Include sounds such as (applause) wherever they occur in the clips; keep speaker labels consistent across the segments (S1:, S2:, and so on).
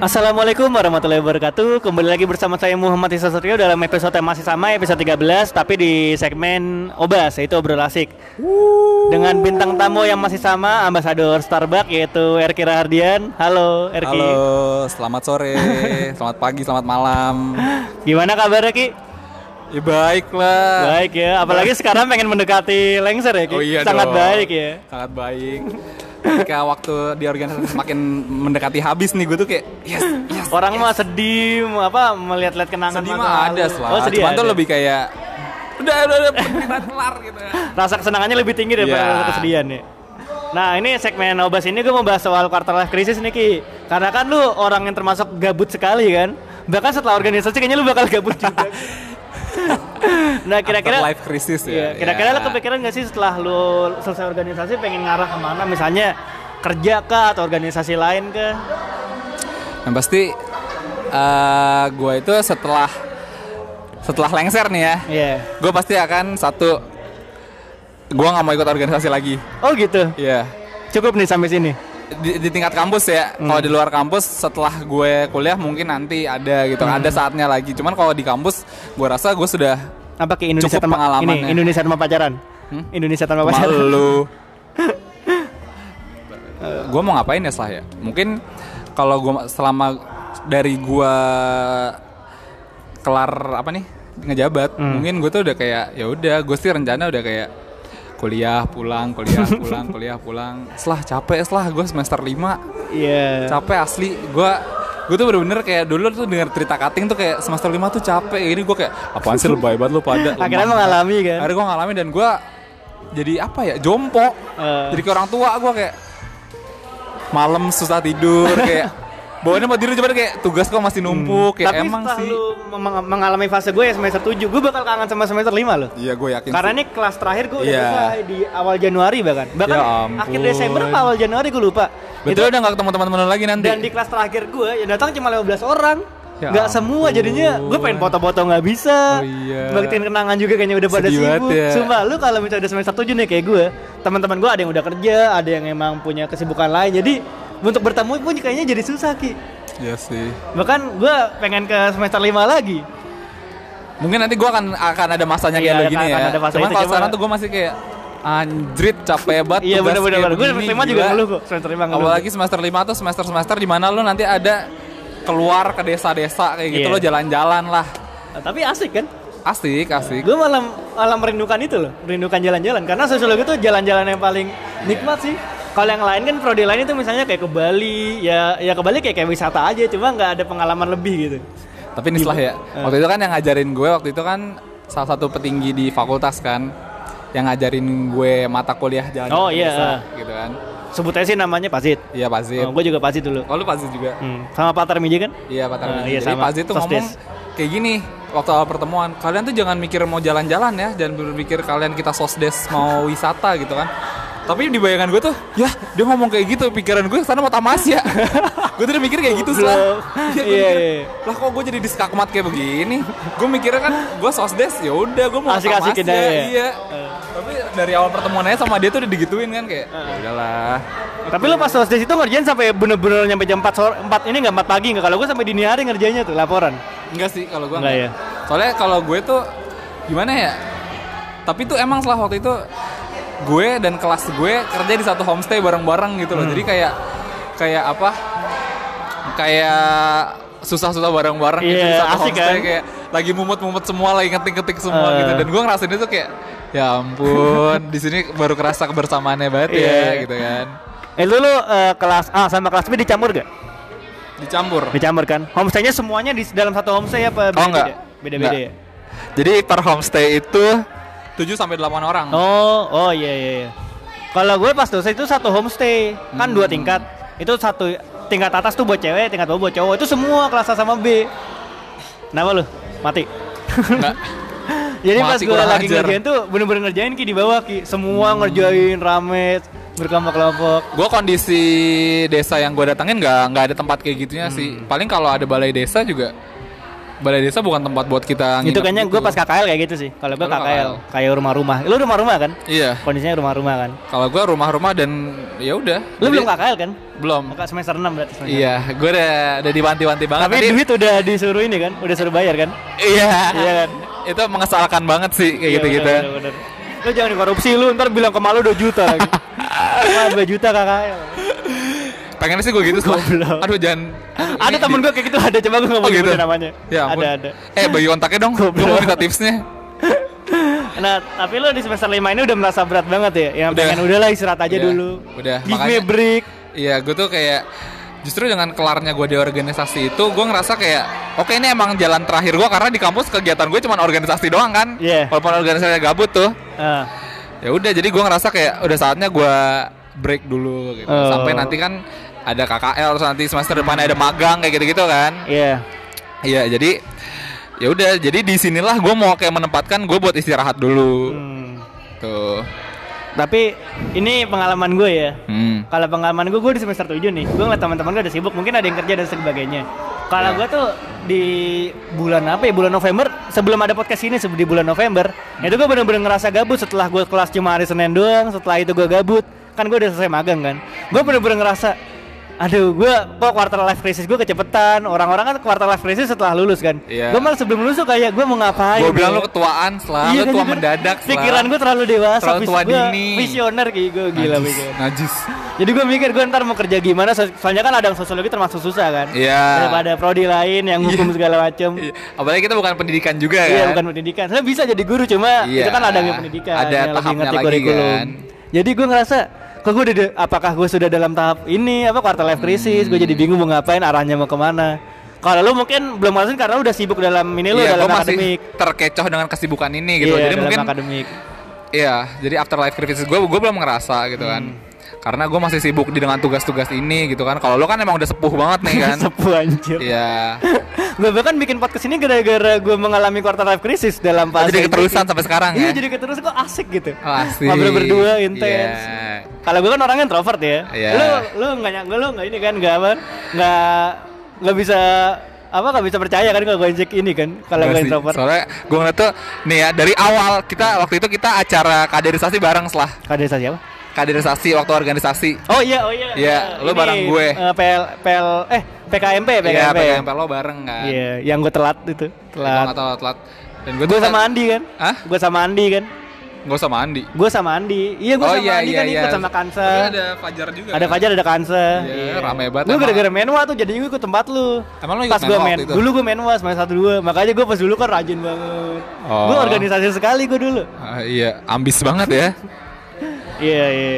S1: Assalamualaikum warahmatullahi wabarakatuh. Kembali lagi bersama saya Muhammad Isa Satrio dalam episode yang masih sama episode 13 tapi di segmen Obas yaitu obrol asik. Dengan bintang tamu yang masih sama ambasador Starbucks yaitu Erki Rahardian. Halo Erki.
S2: Halo, selamat
S1: (laughs)
S2: sore, selamat pagi, selamat malam.
S1: Gimana kabarnya Ki?
S2: Ya baiklah.
S1: Baik ya, apalagi sekarang pengen mendekati lengser ya Ki.
S2: Ah. Oh iya
S1: Sangat
S2: dong.
S1: baik ya.
S2: Sangat baik. Ketika waktu di organisasi semakin mendekati habis nih, gue tuh kayak yes, yes.
S1: Orang mah sedih mau apa melihat-lihat kenangan
S2: Sedih
S1: masa
S2: mah
S1: lalu.
S2: ada lah.
S1: Oh, sedih
S2: Cuman
S1: ada.
S2: tuh lebih kayak udah udah udah perpisahan kelar gitu.
S1: rasa kesenangannya lebih tinggi daripada
S2: Iya.
S1: rasa kesedihan ya. Nah ini segmen obas ini gue mau bahas soal quarter life crisis nih Ki Karena kan lu orang yang termasuk gabut sekali kan Bahkan setelah organisasi kayaknya lu bakal gabut
S2: (laughs)
S1: juga Nah kira-kira
S2: life crisis
S1: Iya,
S2: ya.
S1: Kira-kira
S2: ya.
S1: lu kepikiran gak sih setelah lu selesai organisasi pengen ngarah kemana Misalnya kerja kah atau organisasi lain kah
S2: Yang pasti eh gue itu setelah setelah lengser nih ya,
S1: Iya
S2: gue pasti akan satu gue nggak mau ikut organisasi lagi.
S1: Oh gitu
S2: Iya.
S1: Cukup nih sampai sini
S2: di, di tingkat kampus ya kalau di luar kampus setelah gue kuliah mungkin nanti ada gitu ada saatnya lagi cuman kalau di kampus gue rasa gue sudah
S1: Apa ke Indonesia tanpa
S2: Cukup
S1: ini,
S2: pengalamannya. Hmm?
S1: Indonesia tanpa pacaran Indonesia tanpa pacaran
S2: malu gue mau ngapain ya setelah ya mungkin kalau gue selama dari gue kelar apa nih ngejabat mungkin gue tuh udah kayak ya udah gue sih rencana udah kayak kuliah pulang kuliah pulang kuliah pulang setelah capek setelah gue semester 5
S1: Iya
S2: capek asli gue gue tuh bener-bener kayak dulu tuh denger cerita cutting tuh kayak semester 5 tuh capek ini gue kayak apaan sih lebay banget lu pada
S1: (laughs)
S2: lemah."
S1: Akhirnya mengalami kan
S2: akhirnya gue ngalamin dan gue jadi apa ya jompo
S1: Eh.
S2: jadi kayak orang tua gue kayak malam susah
S1: (laughs)
S2: tidur kayak bawaannya mau tidur cuman kayak tugas kok masih numpuk kayak
S1: Hmm. Tapi
S2: emang
S1: setelah
S2: sih
S1: lu meng- mengalami fase gue ya semester 7 Gue bakal kangen sama semester 5 loh
S2: iya gue yakin
S1: Karena
S2: sih.
S1: ini kelas terakhir gue udah
S2: Iya.
S1: selesai di awal Januari bahkan Bahkan
S2: Ya ampun.
S1: akhir Desember apa awal Januari gue lupa
S2: betul
S1: Itu-
S2: udah gak ketemu teman-teman lu lagi nanti
S1: Dan di kelas terakhir gue yang datang cuma 15 orang
S2: Ya
S1: Nggak semua
S2: ampun.
S1: jadinya gue pengen foto-foto nggak bisa
S2: Oh iya.
S1: Baktiin kenangan juga kayaknya udah pada
S2: Sedih banget
S1: sibuk
S2: ya.
S1: Sumpah lu kalau misalnya udah semester 7 nih kayak gue Teman-teman gue ada yang udah kerja Ada yang emang punya kesibukan lain Jadi untuk bertemu pun kayaknya jadi susah Ki
S2: iya sih
S1: Bahkan gue pengen ke semester 5 lagi
S2: Mungkin nanti gua akan akan ada
S1: Iya,
S2: masanya kayak
S1: akan-
S2: begini ya.
S1: akan ada masa
S2: Cuman
S1: itu,
S2: kalau
S1: cuma-
S2: sekarang tuh gua masih kayak anjrit capek banget.
S1: Iya
S2: tugas
S1: bener-bener
S2: kayak
S1: Gue
S2: begini,
S1: semester 5 juga
S2: gila.
S1: ngeluh kok Semester 5 ngeluh
S2: Apalagi semester 5 tuh semester-semester di mana lu nanti ada keluar ke desa-desa kayak gitu
S1: Iya.
S2: lo jalan-jalan lah.
S1: Nah, Tapi asik kan
S2: Asik, asik.
S1: Gue malah, malah merindukan itu loh Merindukan jalan-jalan Karena sosiologi itu jalan-jalan yang paling
S2: Iya.
S1: nikmat sih kalau yang lain kan prodi lain itu misalnya kayak ke Bali ya ya ke Bali kayak kayak wisata aja cuma nggak ada pengalaman lebih gitu
S2: Tapi ini setelah ya.
S1: Eh.
S2: Waktu itu kan yang ngajarin gue waktu itu kan salah satu petinggi di fakultas kan yang ngajarin gue mata kuliah jalan
S1: Oh, iya.
S2: gitu kan.
S1: sebut aja sih namanya Pasit
S2: Iya, Pazit.
S1: oh, gue juga Pasit dulu
S2: Oh, lu Pazit juga.
S1: Hmm, sama Pak Tarmiji kan
S2: Iya Pak Tarmiji.
S1: Ah, iya,
S2: Jadi
S1: sama.
S2: Pak Zee tuh
S1: Sos
S2: ngomong
S1: Des.
S2: kayak gini waktu awal pertemuan. Kalian tuh jangan mikir mau jalan-jalan ya, jangan berpikir kalian kita sosdes mau wisata gitu kan. Tapi di bayangan gue tuh, ya dia ngomong kayak gitu, pikiran gue sana mau (laughs) tamasya. gue tuh udah mikir kayak gitu
S1: Belum.
S2: lah. (laughs) Iya,
S1: Iya,
S2: gue mikir,
S1: iya.
S2: Lah kok gue jadi diskakmat kayak begini? Gue mikirnya kan gue sosdes ya udah gue mau
S1: Asik-asikin
S2: tamasya,
S1: aja ya.
S2: Iya.
S1: Eh.
S2: Tapi dari awal pertemuannya sama dia tuh udah digituin kan kayak, ya udahlah.
S1: tapi lo pas sosdes itu ngerjain sampai bener-bener nyampe jam 4 sore 4 ini nggak 4 pagi nggak kalau gue sampai dini hari ngerjainnya tuh laporan
S2: Enggak sih kalau gue
S1: Enggak ya?
S2: enggak. Soalnya kalau gue tuh gimana ya? Tapi tuh emang setelah waktu itu gue dan kelas gue kerja di satu homestay bareng-bareng gitu loh.
S1: Hmm.
S2: Jadi kayak kayak apa? Kayak susah-susah bareng-bareng gitu di
S1: Iya,
S2: satu
S1: asik
S2: homestay
S1: kan?
S2: kayak lagi mumut-mumut semua, lagi ngetik-ngetik semua
S1: Eh.
S2: gitu. Dan gue ngerasain itu kayak ya ampun, di sini baru kerasa kebersamaannya banget
S1: Iya.
S2: ya gitu kan.
S1: eh lu, lu, eh, kelas A sama kelas B dicampur gak
S2: Dicampur.
S1: Dicampur kan? Homestaynya semuanya di dalam satu homestay apa
S2: Oh enggak.
S1: beda-beda? Beda-beda
S2: Enggak.
S1: ya?
S2: Jadi per homestay itu 7 sampai 8 orang.
S1: Oh, oh iya iya iya. Kalau gue pas dosen itu satu homestay, kan dua
S2: Hmm.
S1: tingkat. Itu satu tingkat atas tuh buat cewek, tingkat bawah buat cowok. Itu semua kelas A sama B. Kenapa lu? Mati. (laughs)
S2: Enggak.
S1: Jadi
S2: Mati,
S1: pas gue
S2: kurang
S1: lagi
S2: ajar. Hmm.
S1: ngerjain tuh bener-bener ngerjain ki di bawah ki. Semua ngerjain rame berkelompok-kelompok.
S2: Gue kondisi
S1: Hmm.
S2: desa yang gue datangin nggak nggak ada tempat kayak gitunya sih. Paling kalau ada balai desa juga Balai desa bukan tempat buat kita
S1: itu
S2: nginep
S1: kayaknya
S2: gitu.
S1: gue pas KKL kayak gitu sih kalau gue
S2: Kalau
S1: KKL
S2: KKL.
S1: kayak rumah-rumah lu rumah-rumah kan
S2: Iya.
S1: kondisinya rumah-rumah kan
S2: Kalau gue rumah-rumah dan ya udah.
S1: lu
S2: Jadi-
S1: belum KKL kan
S2: Belum.
S1: Kakak semester 6 berarti semester
S2: Iya, gue udah udah diwanti-wanti banget.
S1: tapi
S2: Tadi-
S1: duit udah disuruh ini kan udah suruh bayar kan
S2: Iya.
S1: Iya kan?
S2: Itu mengesalkan banget sih kayak
S1: Iya,
S2: gitu-gitu.
S1: bener, bener, bener. Lu jangan dikorupsi lu ntar bilang ke malu 2 juta lagi.
S2: (laughs)
S1: Wah, 2 juta KKL.
S2: Pengennya sih gue gitu sumpah.
S1: Goblok.
S2: Aduh jangan.
S1: Ada temen gue kayak gitu ada coba gue nggak
S2: Iya, Oh
S1: mau
S2: gitu.
S1: gitu namanya.
S2: Ya ampun.
S1: ada ada.
S2: Eh bagi kontaknya dong. Gue
S1: Goblok.
S2: mau minta tipsnya.
S1: Nah, tapi lu di semester 5 ini udah merasa berat banget ya. Yang
S2: Udah.
S1: pengen udahlah istirahat aja
S2: Udah,
S1: dulu.
S2: udah,
S1: Give
S2: makanya-
S1: me a break.
S2: Iya, gue tuh kayak justru dengan kelarnya gue di organisasi itu, gue ngerasa kayak oke ini emang jalan terakhir gue karena di kampus kegiatan gue cuma organisasi doang kan.
S1: Iya.
S2: Walaupun organisasinya gabut tuh,
S1: Ah,
S2: ya udah jadi gue ngerasa kayak udah saatnya gue break dulu gitu.
S1: Oh.
S2: Sampai nanti kan ada KKL terus nanti semester depannya ada magang kayak gitu-gitu kan.
S1: Iya.
S2: Iya, jadi ya udah jadi di sinilah gue mau kayak menempatkan gue buat istirahat dulu.
S1: Hmm.
S2: Tuh.
S1: Tapi ini pengalaman gue ya.
S2: Hmm.
S1: Kalau pengalaman gue, gue di semester 7 nih. Gue ngeliat teman-teman gue udah sibuk, mungkin ada yang kerja dan sebagainya. Kalau
S2: Ya.
S1: gue tuh di bulan apa ya? Bulan November, sebelum ada podcast ini sebe- di bulan November,
S2: Hmm.
S1: itu gue bener-bener ngerasa gabut setelah gue kelas cuma hari Senin doang, setelah itu gue gabut. Kan gue udah selesai magang kan. Gue bener-bener ngerasa Aduh, gue kok quarter life crisis gue kecepetan. Orang-orang kan quarter life crisis setelah lulus kan.
S2: Iya.
S1: Gue malah sebelum lulus tuh kayak gue mau ngapain?
S2: Gue bilang
S1: ya?
S2: lu ketuaan selalu
S1: Iya, kan, (laughs)
S2: tua
S1: jujur.
S2: mendadak selalu.
S1: Pikiran gue terlalu dewasa,
S2: Terlalu
S1: vis-
S2: tua
S1: gua
S2: dini.
S1: Visioner kayak gue gila
S2: najis,
S1: visioner.
S2: najis.
S1: Jadi gue mikir gue ntar mau kerja gimana so- Soalnya kan ada yang sosiologi termasuk susah kan
S2: Iya.
S1: Daripada prodi lain yang hukum segala macam
S2: Iya, Apalagi kita bukan pendidikan juga kan.
S1: Iya bukan pendidikan Saya bisa jadi guru cuma
S2: Iya.
S1: itu kan ada yang pendidikan
S2: Ada
S1: yang lebih
S2: tahapnya
S1: ngerti
S2: lagi
S1: kurikulum.
S2: kan.
S1: Jadi gue ngerasa kok gue udah de- apakah gue sudah dalam tahap ini apa quarter life crisis gue
S2: Hmm.
S1: jadi bingung mau ngapain arahnya mau kemana kalau lu mungkin belum masukin karena lu udah sibuk dalam ini lu
S2: Iya,
S1: dalam
S2: gua masih
S1: akademik
S2: terkecoh dengan kesibukan ini gitu.
S1: Iya,
S2: jadi
S1: dalam
S2: mungkin
S1: akademik
S2: iya, jadi afterlife crisis gue gue belum ngerasa gitu kan.
S1: Hmm.
S2: Karena gue masih sibuk di dengan tugas-tugas ini gitu kan. Kalau lo kan emang udah sepuh banget nih kan.
S1: (laughs) sepuh anjir (laughs)
S2: Iya.
S1: gue bahkan bikin podcast ini gara-gara gue mengalami quarter life crisis dalam fase
S2: Jadi keterusan
S1: ini.
S2: sampai sekarang
S1: Iya
S2: ya.
S1: jadi keterusan kok asik gitu.
S2: Oh, asik.
S1: Ngobrol berdua intens.
S2: Iya.
S1: Kalau gue kan orangnya introvert ya.
S2: Iya.
S1: Lu lu nggak nyangka lu nggak ini kan nggak apa nggak nggak bisa apa nggak bisa percaya kan kalau gue injek ini kan kalau
S2: Enggak
S1: gue
S2: sih.
S1: introvert.
S2: Soalnya gue ngeliat tuh nih ya dari awal kita waktu itu kita acara kaderisasi bareng setelah
S1: Kaderisasi apa?
S2: kaderisasi waktu organisasi.
S1: Oh iya oh iya.
S2: Iya,
S1: Eh,
S2: lu
S1: ini,
S2: bareng gue.
S1: eh, PL PL eh PKMP
S2: Iya,
S1: PKMP.
S2: PKMP lo bareng kan.
S1: Iya, yang gue telat itu.
S2: Telat.
S1: Telat.
S2: telat, telat. Dan gue
S1: Gue sama Andi kan?
S2: Hah?
S1: Gue sama Andi kan?
S2: Gue sama Andi.
S1: Gue sama Andi. Iya,
S2: Oh,
S1: gue sama Andi kan ikut sama
S2: Tapi
S1: Kansa.
S2: Ada Fajar juga.
S1: Ada
S2: kan?
S1: Fajar, ada Kansa.
S2: Iya, rame banget
S1: Gue
S2: emang.
S1: gara-gara menwa tuh jadinya gue ikut tempat lu.
S2: Emang lu ikut
S1: pas gue
S2: menwa
S1: men,
S2: waktu itu?
S1: dulu gue menwa sama satu dua. Makanya gue pas dulu kan rajin banget.
S2: Oh.
S1: Gue organisasi sekali gue dulu.
S2: Ah, iya, ambis banget ya.
S1: Iya iya.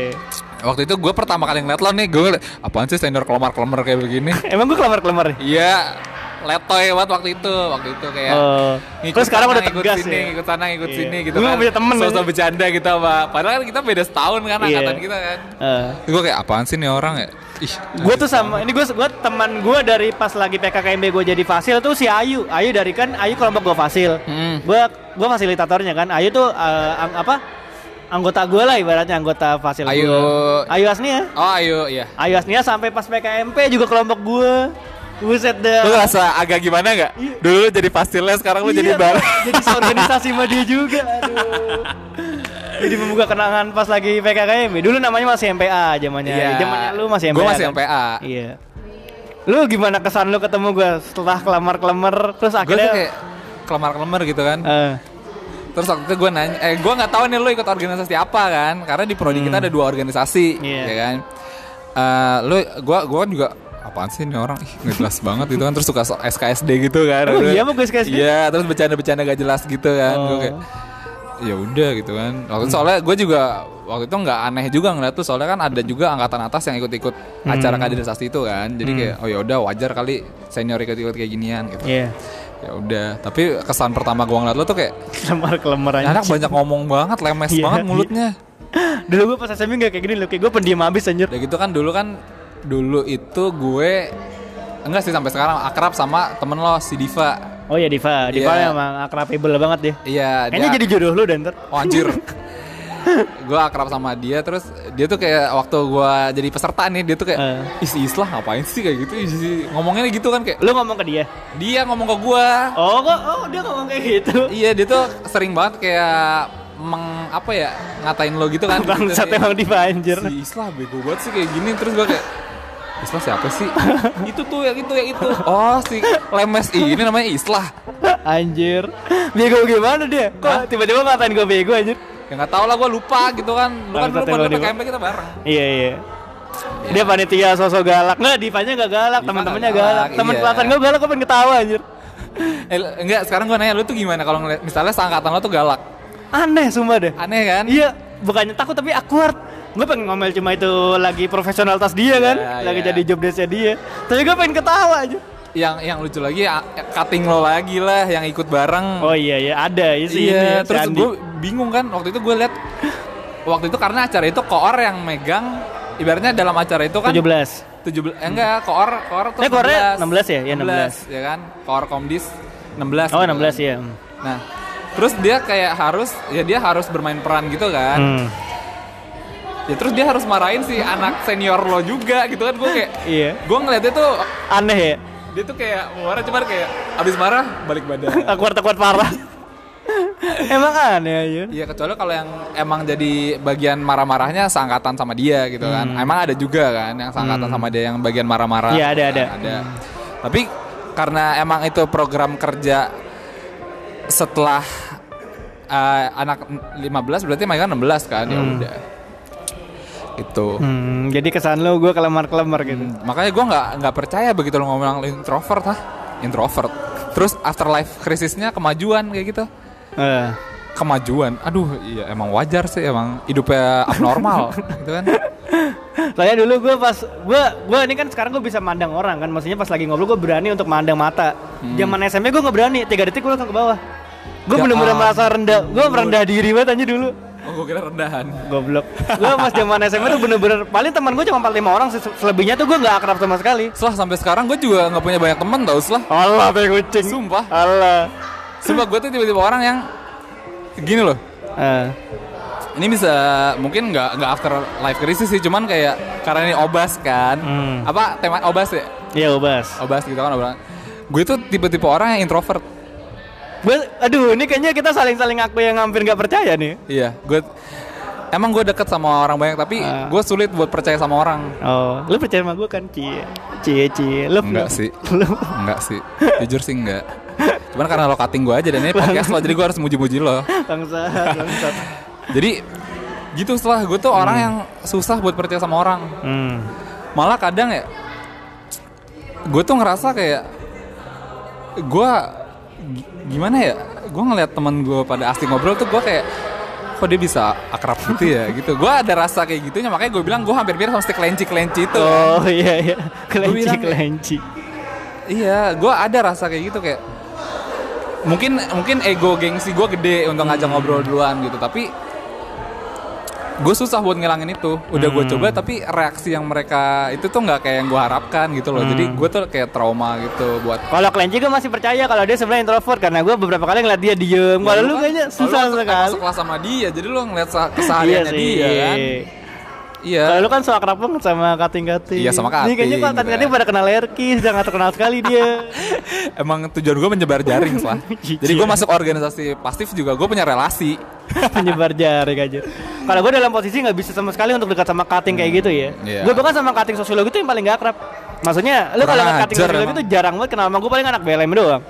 S2: Waktu itu gue pertama kali ngeliat lo nih, gue apaan sih senior kelemar-kelemar kayak begini?
S1: Emang gue kelamar kelamar.
S2: Iya, letoy banget waktu itu. Waktu itu kayak
S1: Oh.
S2: Iya. ngikut
S1: Terus sekarang
S2: sana,
S1: udah tegas
S2: ikut sini,
S1: ya?
S2: ikut sana, ikut
S1: Iya.
S2: sini gitu
S1: Lu
S2: kan.
S1: punya temen,
S2: Sosok
S1: ya?
S2: bercanda gitu apa. Padahal kan kita beda setahun kan
S1: Iya.
S2: angkatan kita kan. Gue kayak apaan sih nih orang ya? Ih,
S1: gue Eh. tuh sama ini gue gue teman gue dari pas lagi PKKMB gue jadi fasil tuh si Ayu Ayu dari kan Ayu kelompok gue fasil
S2: Hmm.
S1: gue gue fasilitatornya kan Ayu tuh eh, ang- apa anggota gue lah ibaratnya anggota fasil
S2: Ayu-
S1: gua. Ayu Asnia
S2: Oh ayo, iya.
S1: Ayo Asnia sampai pas PKMP juga kelompok gue. Buset dah.
S2: Lu ngerasa agak gimana gak?
S1: Iya.
S2: Dulu lu jadi pastilnya, sekarang lu
S1: Iya,
S2: jadi bareng.
S1: (laughs) Jadi seorganisasi sama dia juga. Aduh. Jadi membuka kenangan pas lagi PKKMB. Dulu namanya masih MPA zamannya.
S2: Iya.
S1: Zamannya lu masih MPA.
S2: Gua masih
S1: kan?
S2: MPA.
S1: Iya. Lu gimana kesan lu ketemu gue setelah kelamar-kelamar terus
S2: Gue tuh
S1: akhirnya
S2: kayak kelemar-kelemar gitu kan.
S1: Eh,
S2: Terus waktu itu gue nanya, eh gue nggak tahu nih lu ikut organisasi apa kan? Karena di prodi kita ada dua organisasi,
S1: Hmm. Iya.
S2: ya kan? Eh lu, gue gua juga apaan sih ini orang? Ih, nggak jelas banget gitu kan. Terus suka so- SKSD gitu kan?
S1: Oh,
S2: Aduh.
S1: iya, mau ke SKSD?
S2: Iya, terus bercanda-bercanda gak jelas gitu kan? Gue
S1: Oh. Hmm.
S2: kayak ya udah gitu kan. Waktu itu soalnya gue juga waktu itu nggak aneh juga ngeliat tuh soalnya kan ada juga angkatan atas yang ikut-ikut acara
S1: Hmm.
S2: kaderisasi itu kan. Jadi kayak oh ya udah wajar kali senior ikut-ikut kayak ginian gitu.
S1: iya. (laughs)
S2: Ya udah, tapi kesan pertama gue ngeliat lu tuh kayak
S1: Kelamar-kelamar aja.
S2: Anak banyak ngomong banget, lemes
S1: Iya,
S2: banget
S1: iya.
S2: mulutnya.
S1: Dulu gue pas SMA gak kayak gini loh, kayak gue pendiam habis anjir.
S2: Udah gitu kan dulu kan dulu itu gue enggak sih sampai sekarang akrab sama temen lo si Diva.
S1: Oh ya Diva, Diva
S2: Iya.
S1: emang akrabable banget dia.
S2: Iya,
S1: Kayaknya
S2: dia
S1: (laughs) jadi jodoh lu dan ntar.
S2: oh, anjir. gue akrab sama dia terus dia tuh kayak waktu gue jadi peserta nih dia tuh kayak
S1: Eh.
S2: isi islah ngapain sih kayak gitu isi ngomongnya gitu kan kayak
S1: Lu ngomong ke dia.
S2: dia ngomong ke gue
S1: Oh kok oh dia ngomong kayak gitu.
S2: iya dia tuh sering banget kayak meng apa ya ngatain lo gitu kan
S1: Bangsat
S2: Gitu.
S1: emang Diva anjir.
S2: si Islah bego banget sih kayak gini terus gue kayak Islah siapa
S1: (laughs)
S2: sih? itu tuh yang itu yang itu. Oh si lemes ini namanya Islah.
S1: (laughs) Anjir. Bego gimana dia? Kok
S2: Hah?
S1: tiba-tiba ngatain gue bego anjir?
S2: Ya nggak tau lah gue lupa gitu kan. Lu kan dulu
S1: Bangsat
S2: pada
S1: emang dia,
S2: PKMP kita bareng.
S1: Iya iya. Dia panitia sosok galak. Enggak, Divanya gak galak,
S2: Diva
S1: teman-temannya
S2: nggak
S1: galak.
S2: galak,
S1: Teman
S2: iya.
S1: selatan gue galak, gue pengen ketawa anjir.
S2: Eh, lu- enggak sekarang gue nanya lu tuh gimana kalau ngeliat misalnya seangkatan lo tuh galak.
S1: Aneh sumpah deh.
S2: Aneh kan?
S1: Iya, bukannya takut tapi awkward. Gue pengen ngomel cuma itu lagi profesionalitas dia kan,
S2: Iya,
S1: lagi
S2: iya. Hmm.
S1: jadi job desk-nya dia. Tapi gue pengen ketawa aja.
S2: Yang yang lucu lagi ya, cutting lo lagi lah yang ikut bareng.
S1: Oh iya iya ada ya sih ini,
S2: iya,
S1: si
S2: terus
S1: Andi.
S2: gue bingung kan waktu itu gue lihat waktu itu karena acara itu koor yang megang ibaratnya dalam acara itu kan
S1: 17.
S2: 17 eh, enggak koor koor tuh
S1: Eh, koornya 16 ya? Iya,
S2: 16 ya kan koor komdis 16
S1: Oh 16
S2: gitu kan.
S1: ya.
S2: nah terus dia kayak harus ya dia harus bermain peran gitu kan
S1: Hmm.
S2: ya terus dia harus marahin si anak senior lo juga gitu kan gue kayak
S1: Iya.
S2: gue ngeliatnya tuh
S1: Aneh ya.
S2: dia tuh kayak mau marah cuman kayak abis marah balik
S1: (laughs)
S2: badan
S1: Awkward awkward parah. Emang aneh ya? aja.
S2: Iya kecuali kalau yang emang jadi bagian marah-marahnya seangkatan sama dia gitu kan. Emang ada juga kan yang seangkatan sama dia yang bagian marah-marah.
S1: Hmm. Iya, ada,
S2: Kan,
S1: ada.
S2: Tapi karena emang itu program kerja setelah eh, anak 15 berarti mereka 16 kan ya udah. Itu.
S1: Hmm, jadi kesan lu gue kelemar-kelemar gitu.
S2: Makanya gua nggak nggak percaya begitu lo ngomong lu introvert hah? Introvert. Terus afterlife krisisnya kemajuan kayak gitu.
S1: Eh.
S2: kemajuan. Aduh, iya emang wajar sih emang hidupnya (laughs) abnormal gitu kan.
S1: Soalnya dulu gue pas gue gue ini kan sekarang gue bisa mandang orang kan, maksudnya pas lagi ngobrol gue berani untuk mandang mata. Zaman SMP gue nggak berani, tiga detik gue langsung ke bawah. Gue
S2: Ya
S1: bener-bener
S2: ampun.
S1: merasa rendah, gue merendah diri banget aja dulu.
S2: Oh, gue kira rendahan.
S1: Goblok. Gue pas zaman SMP tuh bener-bener paling teman gue cuma empat lima orang, se- selebihnya tuh gue nggak akrab sama sekali.
S2: Setelah sampai sekarang gue juga nggak punya banyak teman tau setelah.
S1: Allah teh kucing.
S2: Sumpah.
S1: Allah.
S2: Sumpah gue tuh tiba-tiba orang yang gini loh.
S1: Eh.
S2: Ini bisa mungkin nggak nggak after life crisis sih, cuman kayak karena ini obas kan.
S1: Hmm.
S2: Apa tema obas ya?
S1: Iya obas.
S2: Obas gitu kan obrolan. Gue tuh tipe-tipe orang yang introvert.
S1: Gue, aduh ini kayaknya kita saling-saling aku yang hampir nggak percaya nih.
S2: Iya, gue emang gue deket sama orang banyak tapi
S1: Ah.
S2: gue sulit buat percaya sama orang.
S1: Oh, lu percaya sama gue kan, Cie? Cie, Cie. Lu
S2: Enggak
S1: lu-
S2: sih.
S1: (laughs) Lu
S2: Enggak sih, jujur sih enggak. Cuman karena lo cutting gue aja dan ini podcast lo, jadi gue harus muji-muji lo.
S1: bangsa, bangsa.
S2: Jadi gitu setelah gue tuh orang yang susah buat percaya sama orang.
S1: Hmm.
S2: Malah kadang ya, gue tuh ngerasa kayak gue gi- gimana ya? Gue ngeliat teman gue pada asli ngobrol tuh gue kayak kok dia bisa akrab gitu ya gitu. Gue ada rasa kayak gitunya makanya gue bilang gue hampir mirip sama si kelenci-kelenci itu.
S1: Oh iya iya, kelinci
S2: bilang ya.
S1: kelinci.
S2: Iya, gue ada rasa kayak gitu kayak mungkin mungkin ego gengsi gue gede untuk ngajak
S1: Hmm.
S2: ngobrol duluan gitu, tapi gue susah buat ngilangin itu. Udah gue
S1: Hmm.
S2: coba tapi reaksi yang mereka itu tuh nggak kayak yang gue harapkan gitu loh. Jadi
S1: Hmm.
S2: gue tuh kayak trauma gitu buat.
S1: Kalau kelinci gue masih percaya kalau dia sebenarnya introvert karena gue beberapa kali ngeliat dia diem. Kalau lu
S2: kan-
S1: kayaknya
S2: kalau
S1: susah
S2: lu kan
S1: sekali. Iya
S2: sekelas sama dia, jadi lu ngeliat sa- kesehariannya dia kan. Iya.
S1: Kalau lu kan so akrab banget sama kating-kating.
S2: Iya, sama
S1: Ini kayaknya
S2: kating,
S1: kalau kating-kating
S2: gitu
S1: pada kenal Erki, sudah nggak terkenal sekali dia.
S2: (laughs) Emang tujuan gue menyebar jaring
S1: (laughs)
S2: lah.
S1: Iya.
S2: Jadi gue masuk organisasi pasif juga gue punya relasi.
S1: (laughs) penyebar jaring aja. Kalau gue dalam posisi nggak bisa sama sekali untuk dekat sama cutting kayak gitu ya.
S2: Iya.
S1: Gue bahkan sama cutting sosiologi itu yang paling gak akrab. Maksudnya lu kalau
S2: Kurang
S1: cutting
S2: ajar
S1: sosiologi
S2: emang.
S1: itu jarang banget kenal sama gue paling anak BLM doang.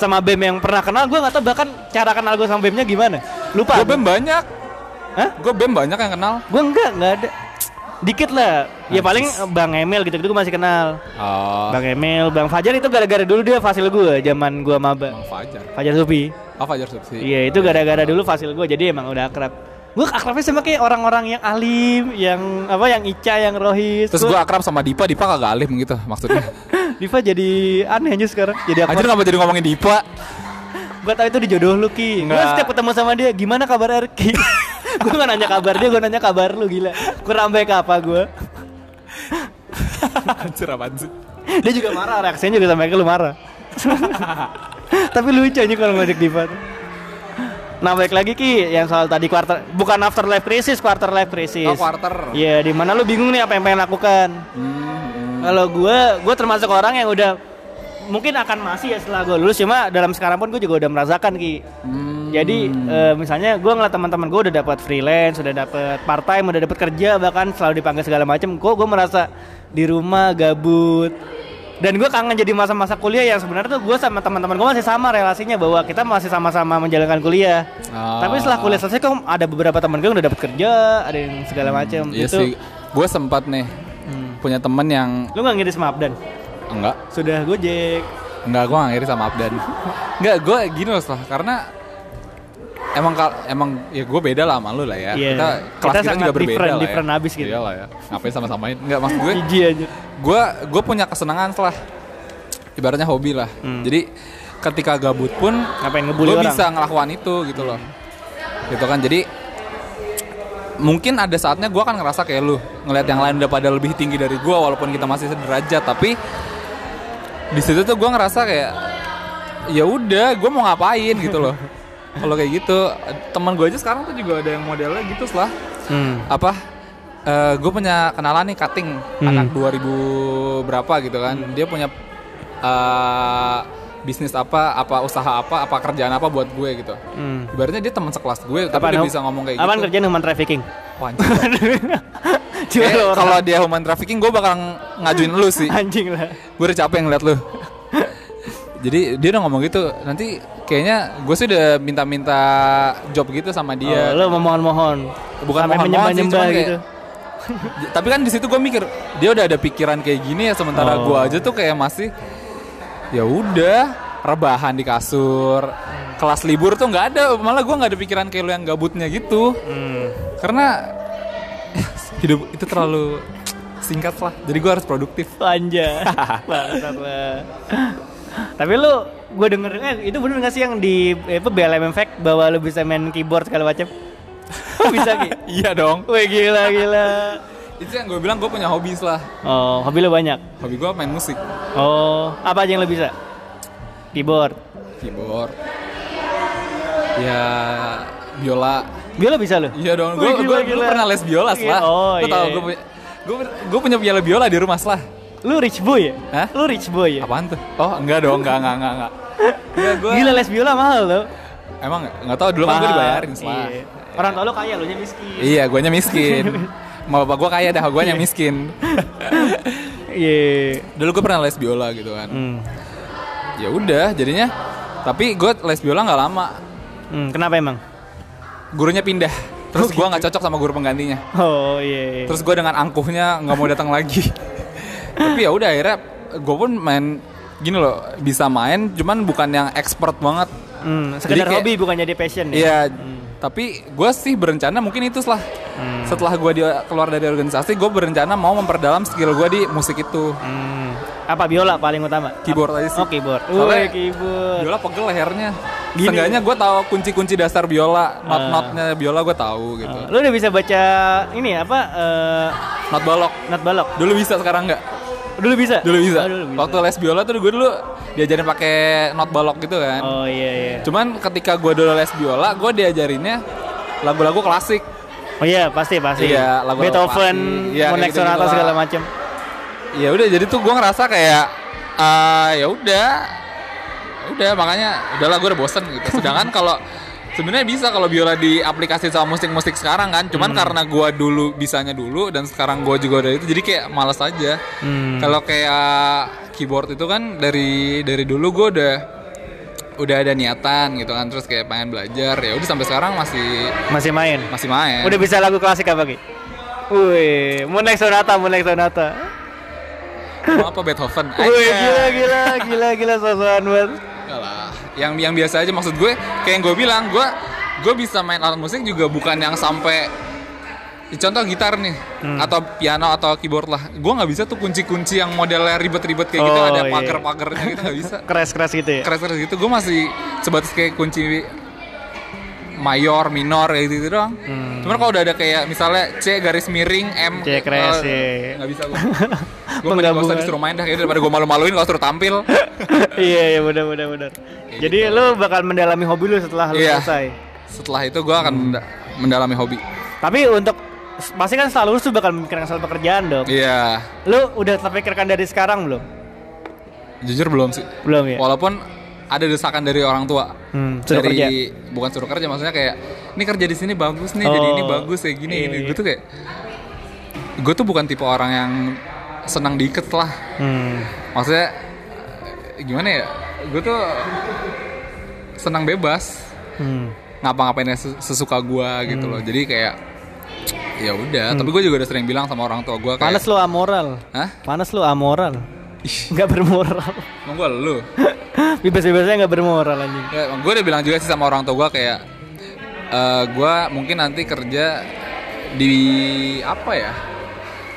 S1: Sama BEM yang pernah kenal gue nggak tahu bahkan cara kenal gue sama BEM-nya gimana. Lupa.
S2: Gue Ya, bem banyak.
S1: Hah?
S2: Gue bem banyak yang kenal.
S1: Gue enggak, enggak ada. Dikit lah. Ya
S2: Nah,
S1: paling Bang Emil gitu-gitu gue masih kenal.
S2: Oh,
S1: Bang Emil, Bang Fajar itu gara-gara dulu dia fasil gue zaman gue maba.
S2: Bang Fajar.
S1: Fajar Supi.
S2: Oh, Fajar Subsi.
S1: Iya itu gara-gara dulu fasil gue jadi emang udah akrab. Gue akrabnya sama kayak orang-orang yang alim, yang apa, yang Ica, yang Rohis.
S2: Terus gue akrab sama Dipa, Dipa kagak alim gitu
S1: (laughs)
S2: maksudnya.
S1: (gasps) Diva jadi aneh aja sekarang. Jadi aku
S2: Anjir kenapa jadi ngomongin
S1: (laughs)
S2: Dipa?
S1: gue tau itu dijodoh lu ki. Gue
S2: Nggak.
S1: setiap ketemu sama dia, gimana kabar (laughs) Erki? gue gak nanya kabar dia, gue nanya kabar lu gila. Kurang baik apa gue?
S2: Anjir apaan sih?
S1: (laughs) Dia juga marah, reaksinya (laughs) juga sampai ke lu marah. Tapi lucu aja kalau ngajak Diva. tuh. Nah balik lagi Ki yang soal tadi quarter bukan after life crisis, quarter life crisis.
S2: Oh, quarter. Hmm,
S1: Iya, di mana lu bingung nih apa yang pengen lakukan. Kalau gue, gue termasuk orang yang udah mungkin akan masih ya setelah gue lulus cuma dalam sekarang pun gue juga udah merasakan ki.
S2: Hmm.
S1: Jadi eh, misalnya gue ngeliat teman-teman gue udah dapat freelance, udah dapat part time, udah dapat kerja bahkan selalu dipanggil segala macam. Gue gue merasa di rumah gabut. Dan gue kangen jadi masa-masa kuliah yang sebenarnya tuh gue sama teman-teman gue masih sama relasinya bahwa kita masih sama-sama menjalankan kuliah.
S2: Ah.
S1: Tapi setelah kuliah selesai kok ada beberapa teman gue yang udah dapat kerja, ada yang segala macam.
S2: Iya
S1: itu Hmm.
S2: sih, gue sempat nih punya temen yang
S1: lu nggak ngiris maaf dan
S2: enggak,
S1: sudah gojek
S2: enggak gue nggak ngiri sama
S1: (laughs)
S2: Abdan. enggak, gue gini loh Slah, karena emang kal- emang ya gue beda lah sama lu lah ya.
S1: Iya.
S2: Kita kelas
S1: Kita
S2: kita,
S1: sangat
S2: juga berbeda
S1: different-
S2: lah ya.
S1: different abis gitu. Iya.
S2: Iyalah ya. Ngapain sama-samain? Enggak maksud gue.
S1: jijik aja
S2: gue gue punya kesenangan setelah ibaratnya hobi lah jadi ketika gabut pun
S1: ngapain ngebully
S2: gue
S1: orang
S2: bisa ngelakuin itu gitu loh gitu kan jadi mungkin ada saatnya gue akan ngerasa kayak lu ngelihat yang lain udah pada lebih tinggi dari gue walaupun kita masih sederajat tapi di situ tuh gue ngerasa kayak ya udah gue mau ngapain gitu loh kalau kayak gitu teman gue aja sekarang tuh juga ada yang modelnya gitu lah
S1: hmm.
S2: apa gue punya kenalan nih cutting
S1: Hmm.
S2: anak 2000 berapa gitu kan dia punya eh, bisnis apa apa usaha apa apa kerjaan apa buat gue gitu
S1: Hmm.
S2: ibaratnya dia teman sekelas gue tapi
S1: Apaan,
S2: dia
S1: Om?
S2: bisa ngomong kayak
S1: apaan
S2: gitu
S1: kerjaan human
S2: (laughs)
S1: trafficking (laughs)
S2: Wah, anjing.
S1: Cuma
S2: Kayaknya
S1: lo orang
S2: Eh, kalau dia human trafficking gue bakal ngajuin lu
S1: (laughs)
S2: sih
S1: anjing lah
S2: gue udah capek ngeliat lu jadi dia udah ngomong gitu nanti kayaknya gue sih udah minta-minta job gitu sama dia
S1: oh, lo memohon-mohon
S2: bukan
S1: Sampai
S2: mohon mohon sih
S1: menyembah-nyembah
S2: cuman kayak-
S1: gitu
S2: J- tapi kan di situ gue mikir dia udah ada pikiran kayak gini ya sementara
S1: Oh.
S2: gue aja tuh kayak masih ya udah rebahan di kasur kelas libur tuh nggak ada malah gue nggak ada pikiran kayak lu yang gabutnya gitu
S1: hmm.
S2: karena (laughs) hidup itu terlalu singkat lah jadi gue harus produktif
S1: Anja Bangsat lah. tapi lu gue denger eh, itu bener gak sih yang di eh, apa BLM Fact bahwa lu bisa main keyboard segala
S2: (laughs)
S1: macam bisa ki
S2: (laughs) iya dong
S1: Wih gila gila
S2: itu yang gue bilang gue punya hobi lah
S1: oh hobi lo banyak
S2: hobi gue main musik
S1: Oh, apa aja yang lo bisa? Keyboard.
S2: keyboard ya biola
S1: Biola bisa lo?
S2: Iya dong, gue
S1: Wih, gila,
S2: dulu
S1: gila.
S2: pernah les biola
S1: Iya,
S2: lah.
S1: oh,
S2: Lu
S1: iya,
S2: tau
S1: iya.
S2: gue punya gue gue punya piala biola di rumah lah.
S1: Lu rich boy ya?
S2: Hah?
S1: Lu rich boy ya?
S2: Apaan tuh? Oh enggak dong, enggak enggak enggak enggak. Enggak gue.
S1: Gila les biola mahal lo.
S2: Emang enggak tahu dulu kan gue
S1: Mahal.
S2: dibayarin lah.
S1: Iya. Orang tua lo kaya, lo nya miskin.
S2: Iya, guanya miskin. Mau bapak gue kaya dah, guanya miskin.
S1: (laughs) Iya.
S2: dulu gue pernah les biola gitu kan.
S1: Hmm.
S2: Ya udah, jadinya tapi gue les biola nggak lama.
S1: Hmm, kenapa emang?
S2: Gurunya pindah. Terus
S1: gitu.
S2: gue nggak cocok sama guru penggantinya.
S1: Oh iya.
S2: Terus gue dengan angkuhnya nggak mau datang
S1: (laughs)
S2: lagi. Tapi ya udah akhirnya gue pun main gini loh bisa main cuman bukan yang expert banget.
S1: Hmm, sekedar
S2: Jadi kayak-
S1: hobi bukan jadi passion ya?
S2: Iya. Tapi gue sih berencana mungkin itu setelah
S1: Hmm.
S2: setelah gue keluar dari organisasi gue berencana mau memperdalam skill gue di musik itu
S1: Hmm. Apa biola paling utama?
S2: keyboard aja sih.
S1: Oh keyboard.
S2: Soalnya
S1: Wih, keyboard.
S2: Biola pegel lehernya.
S1: Gini. Ah.
S2: Seenggaknya gue tahu kunci-kunci dasar biola, not-notnya biola gue tahu gitu.
S1: Oh, Lu udah bisa baca ini apa? eh
S2: Not balok.
S1: not balok.
S2: Dulu bisa sekarang nggak?
S1: Dulu bisa.
S2: dulu bisa.
S1: Oh, dulu bisa.
S2: Waktu les biola tuh gue dulu diajarin pakai not balok gitu kan.
S1: Oh iya iya.
S2: Cuman ketika gue dulu les biola, gue diajarinnya lagu-lagu klasik.
S1: Oh iya pasti pasti.
S2: Iya, lagu-lagu
S1: Beethoven,
S2: pasti. Iya,
S1: Monek
S2: kayak gitu-gitu
S1: Sonata
S2: lah.
S1: segala macam.
S2: Ya udah, jadi tuh gue ngerasa kayak ah, ya udah, Ya udah makanya udahlah gue udah bosen gitu.
S1: (laughs)
S2: Sedangkan kalau sebenarnya bisa kalau biola di aplikasi sama musik-musik sekarang kan. Cuman
S1: Hmm.
S2: karena gue dulu bisanya dulu dan sekarang gue juga udah itu, jadi kayak males aja.
S1: Hmm.
S2: Kalau kayak keyboard itu kan dari dari dulu gue udah udah ada niatan gitu kan terus kayak pengen belajar ya udah sampai sekarang masih
S1: Masih main.
S2: masih main.
S1: Udah bisa lagu klasik apa Ki? Wih, Monek Sonata, Monek Sonata.
S2: Mau apa Beethoven?
S1: Wih,
S2: Aja.
S1: Oh, iya, gila gila gila gila sosokan banget.
S2: Enggak lah. Yang yang biasa aja maksud gue kayak yang gue bilang gue gue bisa main alat musik juga bukan yang sampai ya, contoh gitar nih
S1: Hmm.
S2: atau piano atau keyboard lah gue nggak bisa tuh kunci-kunci yang modelnya ribet-ribet kayak gitu
S1: Oh,
S2: ada
S1: iya.
S2: pagar-pagarnya gitu nggak
S1: (laughs)
S2: bisa
S1: Keras-keras gitu ya.
S2: keras keras gitu gue masih sebatas kayak kunci mayor minor kayak gitu, doang cuman kalau udah ada kayak misalnya C garis miring M
S1: Hmm. C crash,
S2: eh,
S1: iya.
S2: nggak bisa gue
S1: (laughs)
S2: gue mending gak usah
S1: Penggabungan.
S2: disuruh main dah kayaknya daripada gue malu-maluin kalau suruh tampil
S1: (laughs) iya iya benar benar benar. Jadi lu bakal mendalami hobi lu setelah lu
S2: gitu. Iya.
S1: selesai.
S2: setelah itu gue akan menda- mendalami hobi
S1: Tapi untuk pasti kan selalu lulus tuh bakal memikirkan soal pekerjaan dong.
S2: iya
S1: Lu udah terpikirkan dari sekarang belum?
S2: jujur belum sih
S1: Belum ya?
S2: walaupun ada desakan dari orang tua
S1: Hmm, suruh
S2: dari
S1: kerja.
S2: bukan suruh kerja maksudnya kayak ini kerja di sini bagus nih jadi
S1: Oh,
S2: ini bagus kayak gini
S1: iya,
S2: ini
S1: iya.
S2: gue tuh kayak gue tuh bukan tipe orang yang senang diikat lah
S1: Hmm.
S2: maksudnya eh, gimana ya gue tuh senang bebas
S1: Hmm.
S2: Iya. ngapa-ngapainnya ses- sesuka gue gitu loh jadi kayak ya udah
S1: Hmm.
S2: tapi gue juga udah sering bilang sama orang tua gue kayak
S1: Panas lu amoral.
S2: Hah?
S1: Panas lu amoral.
S2: Ih.
S1: (laughs) Nggak bermoral.
S2: Emang gue lu
S1: Bebas-bebasnya nggak bermoral anjing.
S2: Ya, gue udah bilang juga sih sama orang tua gue kayak eh gue mungkin nanti kerja di apa ya?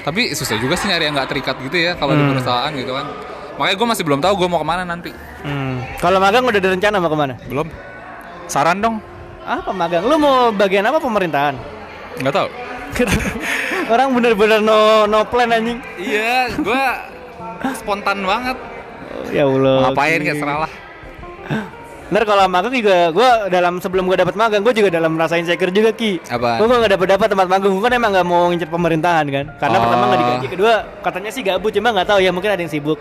S2: Tapi susah juga sih nyari yang nggak terikat gitu ya kalau di perusahaan gitu kan. Makanya gue masih belum tahu gue mau kemana nanti.
S1: Hmm. Kalau magang udah ada rencana mau kemana?
S2: Belum. Saran dong?
S1: Apa magang? Lu mau bagian apa pemerintahan? (laughs)
S2: Nggak tahu.
S1: Orang bener-bener no no plan anjing.
S2: Iya, gue spontan banget.
S1: Ya Allah.
S2: Ngapain
S1: Ki.
S2: kayak seralah.
S1: Ntar kalau magang juga gue dalam sebelum gue dapat magang gue juga dalam rasain insecure juga ki.
S2: Apaan?
S1: Gue nggak dapat dapat tempat magang gue kan emang nggak mau ngincer pemerintahan kan. Karena
S2: Oh.
S1: pertama nggak digaji, kedua katanya sih gabut cuma nggak tahu ya mungkin ada yang sibuk.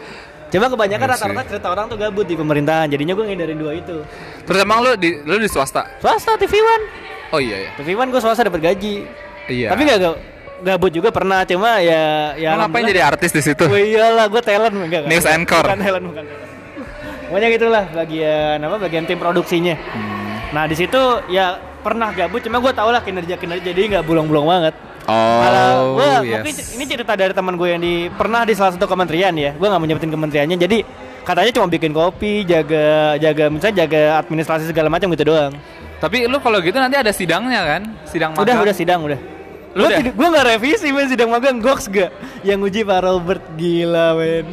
S1: Cuma kebanyakan
S2: Iya sih.
S1: rata-rata cerita orang tuh gabut di pemerintahan. Jadinya gue ngindarin dua itu.
S2: Terus emang lu di lu di swasta?
S1: Swasta TV One,
S2: Oh iya ya.
S1: TV One gue swasta dapat gaji.
S2: Iya.
S1: Tapi nggak ga- gabut juga pernah cuma ya ya.
S2: Lu ngapain jadi artis di situ?
S1: Gue iyalah gue talent enggak. enggak.
S2: News anchor.
S1: Bukan talent bukan. talent. Pokoknya gitulah bagian apa bagian tim produksinya.
S2: Hmm.
S1: Nah di situ ya pernah gabut cuma gue tau lah kinerja kinerja jadi nggak bulong-bulong banget. Kalau
S2: Oh,
S1: gue
S2: yes.
S1: mungkin ini cerita dari teman gue yang di pernah di salah satu kementerian ya. Gue nggak mau nyebutin kementeriannya. Jadi katanya cuma bikin kopi, jaga jaga misalnya jaga administrasi segala macam gitu doang.
S2: Tapi lu kalau gitu nanti ada sidangnya kan? Sidang
S1: Udah
S2: magang.
S1: udah sidang udah.
S2: Lu
S1: Gue
S2: udah?
S1: tidak, gue nggak revisi men sidang magang goks gak? Yang uji Pak Robert gila men.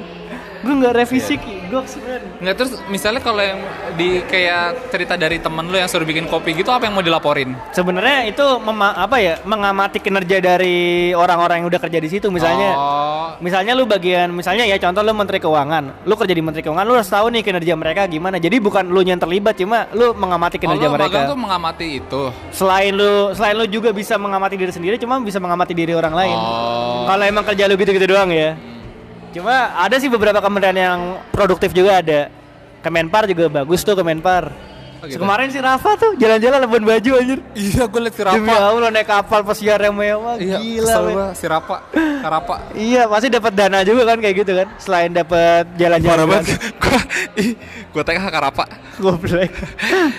S1: Gue nggak revisi
S2: Iya.
S1: ki goks men.
S2: Nggak terus misalnya kalau yang di kayak cerita dari temen lu yang suruh bikin kopi gitu apa yang mau dilaporin?
S1: Sebenarnya itu mema- apa ya mengamati kinerja dari orang-orang yang udah kerja di situ misalnya.
S2: Oh,
S1: Misalnya lu bagian misalnya ya contoh lu menteri keuangan, lu kerja di menteri keuangan lu harus tahu nih kinerja mereka gimana. Jadi bukan lu yang terlibat cuma lu mengamati kinerja
S2: oh, lu
S1: mereka.
S2: magang tuh mengamati itu.
S1: Selain lu selain lu juga bisa mengamati diri sendiri cuma bisa mengamati diri orang lain.
S2: Oh. Hmm.
S1: Kalau emang kerja lu gitu-gitu doang ya. Cuma ada sih beberapa kementerian yang produktif juga ada. Kemenpar juga bagus tuh Kemenpar.
S2: Oh, gitu.
S1: Kemarin si Rafa tuh jalan-jalan Labuan Bajo anjir.
S2: Iya, gue liat si
S1: Demi
S2: Rapa.
S1: Allah naik kapal pesiar yang mewah.
S2: Iya,
S1: gila.
S2: kesel
S1: men.
S2: gua, si Rapa.
S1: (laughs)
S2: Karapa.
S1: Iya, pasti dapat dana juga kan kayak gitu kan. Selain dapat jalan-jalan. (laughs) gratis.
S2: (laughs) Gua ih, gua TK Karapa.
S1: Goblok.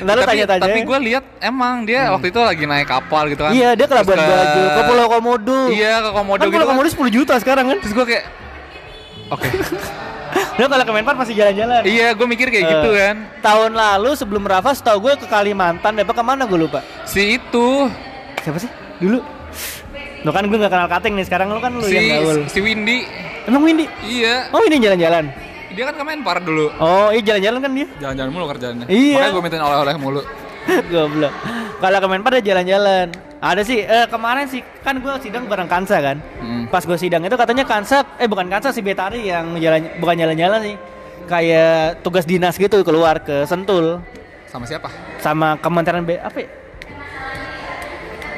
S1: Ntar lu
S2: tapi
S1: tanya-tanya. Hmm.
S2: tapi gue lihat emang dia waktu itu lagi naik kapal gitu kan.
S1: Iya, dia ke
S2: Terus
S1: Labuan Bajo, ke Pulau Komodo.
S2: Iya, ke Komodo
S1: kan
S2: gitu.
S1: Pulau
S2: kan.
S1: Komodo 10 juta sekarang kan.
S2: Terus gue kayak Oke.
S1: Nah, kalau Kemenpar masih jalan-jalan.
S2: iya, gue mikir kayak
S1: Eh,
S2: gitu kan.
S1: Tahun lalu sebelum Rafa setahu gue ke Kalimantan apa kemana gue lupa
S2: Si itu
S1: Siapa sih? Dulu Lo kan gue gak kenal Kating nih Sekarang lo kan lu
S2: si
S1: yang gaul
S2: si Windy.
S1: Emang Windy?
S2: Iya,
S1: Oh Windy jalan-jalan?
S2: dia kan kemarin par dulu.
S1: Oh iya jalan-jalan kan dia (laughs)
S2: Jalan-jalan mulu kerjaannya.
S1: Iya.
S2: Makanya gue mintain oleh-oleh mulu.
S1: Goblok Kalau Kemenpar dia jalan-jalan Ada sih eh, Kemarin sih Kan gue sidang bareng Kansa kan
S2: Hmm.
S1: Pas gue sidang itu katanya Kansa Eh bukan Kansa si Betari yang jalan Bukan jalan-jalan sih Kayak tugas dinas gitu keluar ke Sentul
S2: Sama siapa?
S1: sama Kementerian B apa ya?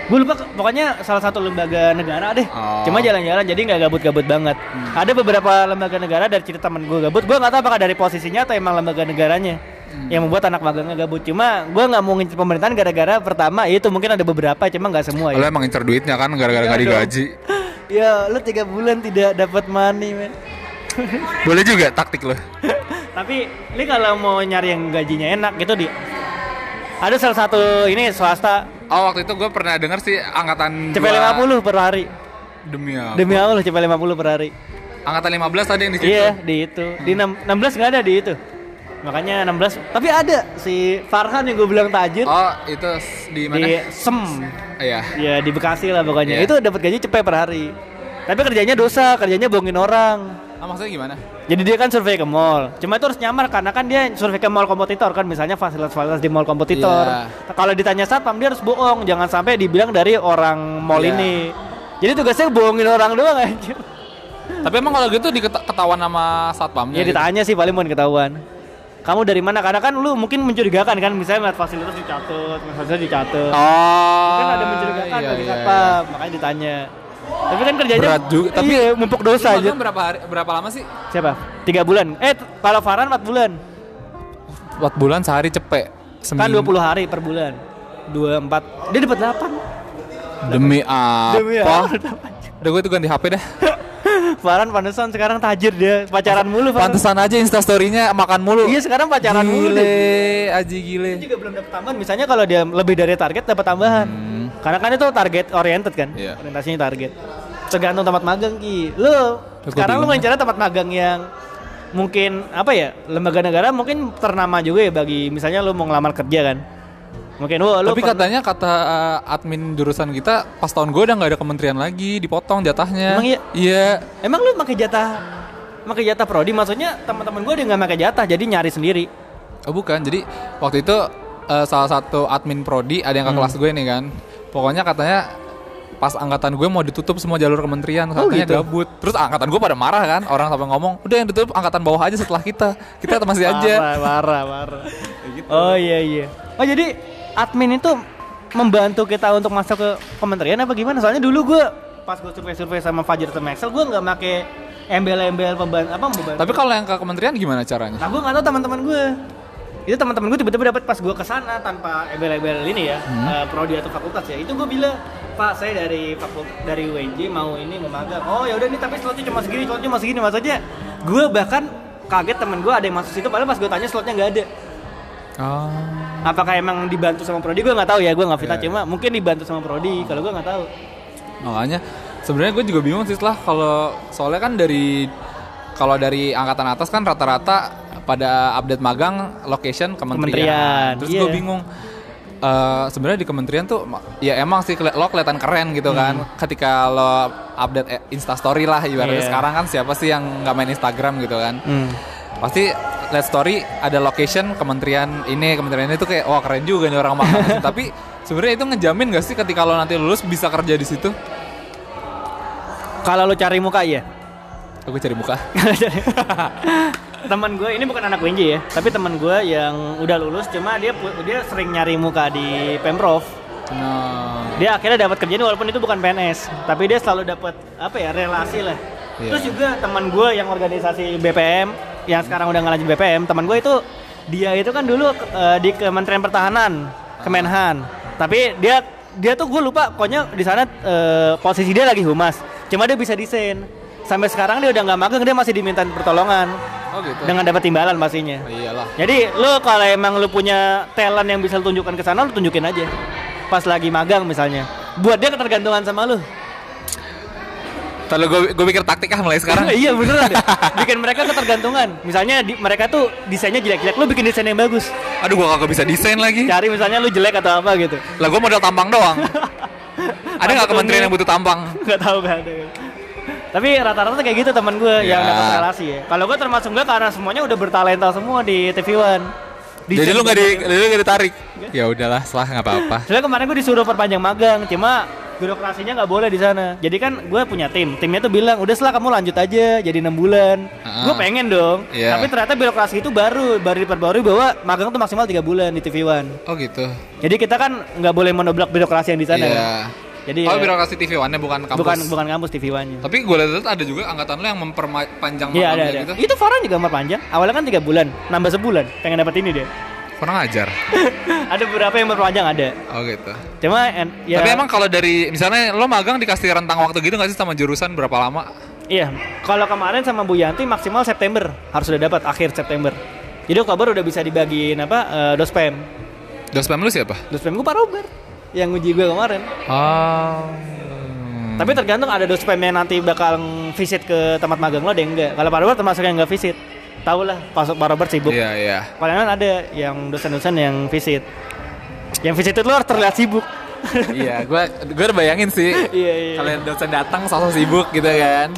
S1: Gue lupa ke- pokoknya salah satu lembaga negara deh.
S2: Oh.
S1: Cuma jalan-jalan jadi nggak gabut-gabut banget. Ada beberapa lembaga negara dari cerita temen gue gabut. Gue nggak tahu apakah dari posisinya atau emang lembaga negaranya yang membuat anak magangnya gabut. Cuma gue nggak mau ngincer pemerintahan gara-gara pertama itu mungkin ada beberapa cuma nggak semua
S2: Lo
S1: ya.
S2: emang ngincer duitnya kan gara-gara
S1: Iya
S2: gak
S1: dong.
S2: digaji.
S1: (laughs) ya lu tiga bulan tidak dapat money men.
S2: Boleh juga taktik lo.
S1: (laughs) Tapi ini kalau mau nyari yang gajinya enak gitu di ada salah satu ini swasta
S2: Oh, waktu itu gue pernah denger sih angkatan
S1: cepet 50 per hari.
S2: puluh Demi apa?
S1: Demi Allah cepet 50 per hari.
S2: Angkatan 15 tadi yang di situ.
S1: Iya, di itu. Di enam- 16 nggak ada di itu. Makanya 16, tapi ada si Farhan yang gue bilang tajir
S2: Oh, itu s- di
S1: di
S2: mana?
S1: Sem.
S2: Iya.
S1: Ya di Bekasi lah pokoknya.
S2: Iya.
S1: Itu dapat gaji cepet per hari. Tapi kerjanya dosa, kerjanya bohongin orang.
S2: Ah, maksudnya gimana?
S1: Jadi dia kan survei ke mall. Cuma itu harus nyamar karena kan dia survei ke mall kompetitor kan misalnya fasilitas-fasilitas di mall kompetitor.
S2: Iya.
S1: Kalau ditanya satpam dia harus bohong, jangan sampai dibilang dari orang mall
S2: Iya.
S1: ini. Jadi tugasnya bohongin orang doang aja.
S2: Tapi emang kalau gitu diketahuan sama satpamnya.
S1: Ya
S2: gitu?
S1: ditanya sih paling mau ketahuan. kamu dari mana karena kan lu mungkin mencurigakan kan misalnya melihat fasilitas dicatut fasilitas dicatut
S2: Oh.
S1: kan ada mencurigakan
S2: iya,
S1: dari
S2: iya,
S1: apa makanya ditanya tapi kan kerjanya
S2: Berat juga, tapi-
S1: iya, mumpuk
S2: iya.
S1: dosa aja
S2: Magang berapa hari, berapa lama sih?
S1: siapa tiga bulan eh t- kalau Farhan empat bulan
S2: 4 bulan sehari cepet.
S1: kan
S2: Seminggu.
S1: 20 hari per bulan dua empat dia dapat delapan
S2: Demi apa?
S1: Demi apa?
S2: Udah gue tuh ganti HP dah.
S1: (laughs) Farhan Pantesan sekarang tajir dia pacaran mulu Farhan.
S2: Pantesan aja instastorynya makan mulu.
S1: Iya sekarang pacaran
S2: gile,
S1: mulu Iya, dia.
S2: aji gile.
S1: Dia juga belum dapat tambahan. Misalnya kalau dia lebih dari target dapat tambahan. Karena kan itu target oriented kan.
S2: Hmm. Iya.
S1: Orientasinya target. Tergantung tempat magang Ki. Lu
S2: Terus gua
S1: sekarang lu
S2: bingung
S1: ngincar tempat magang yang mungkin apa ya? Lembaga negara mungkin ternama juga ya bagi misalnya lu mau ngelamar kerja kan. Mungkin wah lu
S2: Tapi
S1: pernah-
S2: katanya kata uh, admin jurusan kita pas tahun gue udah nggak ada kementerian lagi, dipotong jatahnya.
S1: Emang iya?
S2: Iya.
S1: Emang lu pakai jatah pakai jatah prodi maksudnya teman-teman gue dia nggak pakai jatah jadi nyari sendiri.
S2: Oh bukan, jadi waktu itu eh, salah satu admin prodi ada yang
S1: Hmm.
S2: ke kelas gue nih kan. Pokoknya katanya pas angkatan gue mau ditutup semua jalur kementerian katanya
S1: gitu?
S2: gabut. Terus angkatan gue pada marah kan, orang sampai ngomong, "Udah yang ditutup angkatan bawah aja setelah kita. Kita masih aja."
S1: Parah, parah, parah. Oh iya iya. Oh jadi admin itu membantu kita untuk masuk ke kementerian apa gimana? Soalnya dulu gue pas gue survei-survei sama Fajar sama Excel gue nggak make embel-embel pembantu apa pembantu.
S2: Tapi kalau yang ke kementerian gimana caranya?
S1: Nah gue nggak tahu teman-teman gue. Itu teman-teman gue tiba-tiba dapat pas gue kesana tanpa embel-embel ini ya, eh, prodi atau fakultas ya. Itu gue bilang, Pak saya dari fakultas dari UNJ mau ini mau magang. Oh ya udah nih tapi slotnya cuma segini, slotnya cuma segini maksudnya. Gue bahkan kaget temen gue ada yang masuk situ padahal pas gue tanya slotnya nggak ada
S2: Oh.
S1: Ah. apakah emang dibantu sama prodi gue nggak tahu ya gue nggak fitnah
S2: Iya,
S1: cuma mungkin dibantu sama prodi kalau gue nggak tahu
S2: Makanya sebenarnya gue juga bingung sih setelah kalau soalnya kan dari kalau dari angkatan atas kan rata-rata pada update magang location
S1: Kementerian,
S2: kementerian. Terus gue
S1: iya.
S2: bingung eh, sebenarnya di kementerian tuh ma- ya emang sih keli- lo kelihatan keren gitu kan ketika lo update eh, instastory lah
S1: Hmm.
S2: ibaratnya
S1: Iya.
S2: sekarang kan siapa sih yang nggak main Instagram gitu kan pasti lihat story ada location kementerian ini kementerian itu kayak wah keren juga nih
S1: (laughs)
S2: orang makan tapi sebenarnya itu ngejamin gak sih ketika lo nanti lulus bisa kerja di situ
S1: kalau lo cari muka ya
S2: Aku cari muka.
S1: (laughs) teman gue ini bukan anak UNJ ya tapi teman gue yang udah lulus cuma dia pu- dia sering nyari muka di pemprov
S2: Nah,
S1: dia akhirnya dapat kerjaan walaupun itu bukan PNS tapi dia selalu dapat apa ya relasi lah
S2: Iya.
S1: terus juga teman gue yang organisasi BPM yang sekarang udah ngelanjut BPM teman gue itu dia itu kan dulu eh, di Kementerian Pertahanan Kemenhan tapi dia dia tuh gue lupa pokoknya di sana eh, posisi dia lagi humas cuma dia bisa desain sampai sekarang dia udah nggak magang dia masih diminta pertolongan
S2: oh gitu.
S1: dengan dapat timbalan pastinya
S2: Oh, iyalah.
S1: jadi lu kalau emang lu punya talent yang bisa lu tunjukkan ke sana lu tunjukin aja. Pas lagi magang misalnya. Buat dia ketergantungan sama lu.
S2: Kalau gue gue pikir taktik ah mulai sekarang.
S1: (laughs) iya beneran.
S2: (laughs)
S1: deh. Bikin mereka ketergantungan. Misalnya di- mereka tuh desainnya jelek-jelek, lu bikin desain yang bagus.
S2: Aduh gue kagak bisa desain lagi.
S1: Cari misalnya lu jelek atau apa gitu.
S2: Lah gue modal tampang (laughs) doang. ada nggak
S1: Rambut
S2: kementerian yang
S1: unik.
S2: butuh tampang?
S1: (laughs) Gak tahu gak ada. Tapi rata-rata kayak gitu teman gue yang
S2: Ya.
S1: dapat relasi ya. Kalau gue termasuk gue karena semuanya udah bertalenta semua di TV One.
S2: Jadi
S1: Desain
S2: lu nggak di,
S1: berbagai-
S2: jadi lu nggak ditarik? Ya udahlah, salah nggak apa-apa.
S1: Soalnya kemarin gue disuruh perpanjang magang, cuma birokrasinya nggak boleh di sana. Jadi kan gue punya tim, timnya tuh bilang udah setelah kamu lanjut aja, jadi enam bulan.
S2: Heeh.
S1: Gue pengen dong,
S2: Iya.
S1: tapi ternyata birokrasi itu baru baru diperbarui bahwa magang tuh maksimal tiga bulan di TV One.
S2: Oh gitu.
S1: Jadi kita kan nggak boleh menobrak birokrasi yang di sana. kan.
S2: Iya.
S1: Jadi ya,
S2: oh birokrasi TV One-nya bukan kampus.
S1: bukan bukan kampus TV One-nya.
S2: Tapi gue lihat ada juga angkatan lo yang memperpanjang
S1: Iya ada ada.
S2: makamnya gitu.
S1: Itu Farhan juga mau panjang. Awalnya kan tiga bulan, nambah sebulan. Pengen dapat ini dia. (laughs)
S2: Kurang ajar.
S1: ada beberapa yang berpanjang ada.
S2: Oh gitu.
S1: Cuma en- ya,
S2: Tapi emang kalau dari misalnya lo magang dikasih rentang waktu gitu nggak sih sama jurusan berapa lama?
S1: Iya, kalau kemarin sama Bu Yanti maksimal September harus sudah dapat akhir September. Jadi kabar udah bisa dibagiin apa eh, dospem.
S2: Dospem lu siapa?
S1: Dospem gue Pak Robert yang uji gue kemarin.
S2: Oh.
S1: Tapi tergantung ada dospem yang nanti bakal visit ke tempat magang lo deh enggak. Kalau Pak Robert termasuk yang enggak visit. Tahu lah, pas- Pak Robert sibuk.
S2: Iya, iya.
S1: Palingan ada yang dosen-dosen yang visit. Yang visit itu lo harus terlihat sibuk. (laughs)
S2: Iya, gua gua udah bayangin sih.
S1: Iya, iya.
S2: Kalian dosen datang sosok sibuk gitu kan.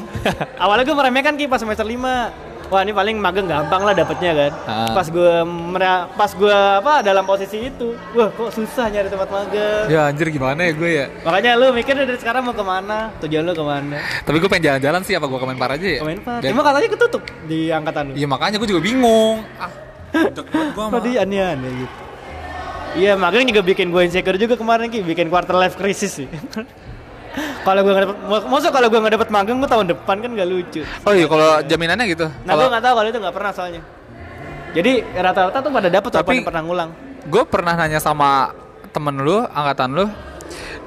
S1: Awalnya gue meremehkan Ki pas semester 5 Wah ini paling magang gampang lah dapetnya kan
S2: Ah.
S1: Pas gue mere- pas gue apa dalam posisi itu Wah kok susah nyari tempat magang
S2: (laughs) ya anjir gimana ya gue ya.
S1: Makanya lu mikir dari sekarang mau kemana Tujuan lu kemana
S2: Tapi gue pengen jalan-jalan sih apa gue ke Menpar aja ya?
S1: Komen Pak
S2: Dan-
S1: Cuma katanya ketutup di angkatan lu
S2: Iya makanya gue juga bingung. Ah, Deg banget gua sama-
S1: Tadi aneh-aneh gitu. Iya, makanya juga bikin gue insecure juga kemarin Ki, bikin quarter life crisis sih. (laughs) kalau gue nggak dapet, maksud kalau gue nggak dapet magang gue tahun depan kan nggak lucu.
S2: Oh iya kalau jaminannya gitu.
S1: Nah, gue
S2: Kalau
S1: nggak tahu kalau itu nggak pernah soalnya. Jadi rata-rata tuh pada dapet tapi
S2: Tapi-
S1: pernah ngulang.
S2: gue pernah nanya sama temen lu, angkatan lu,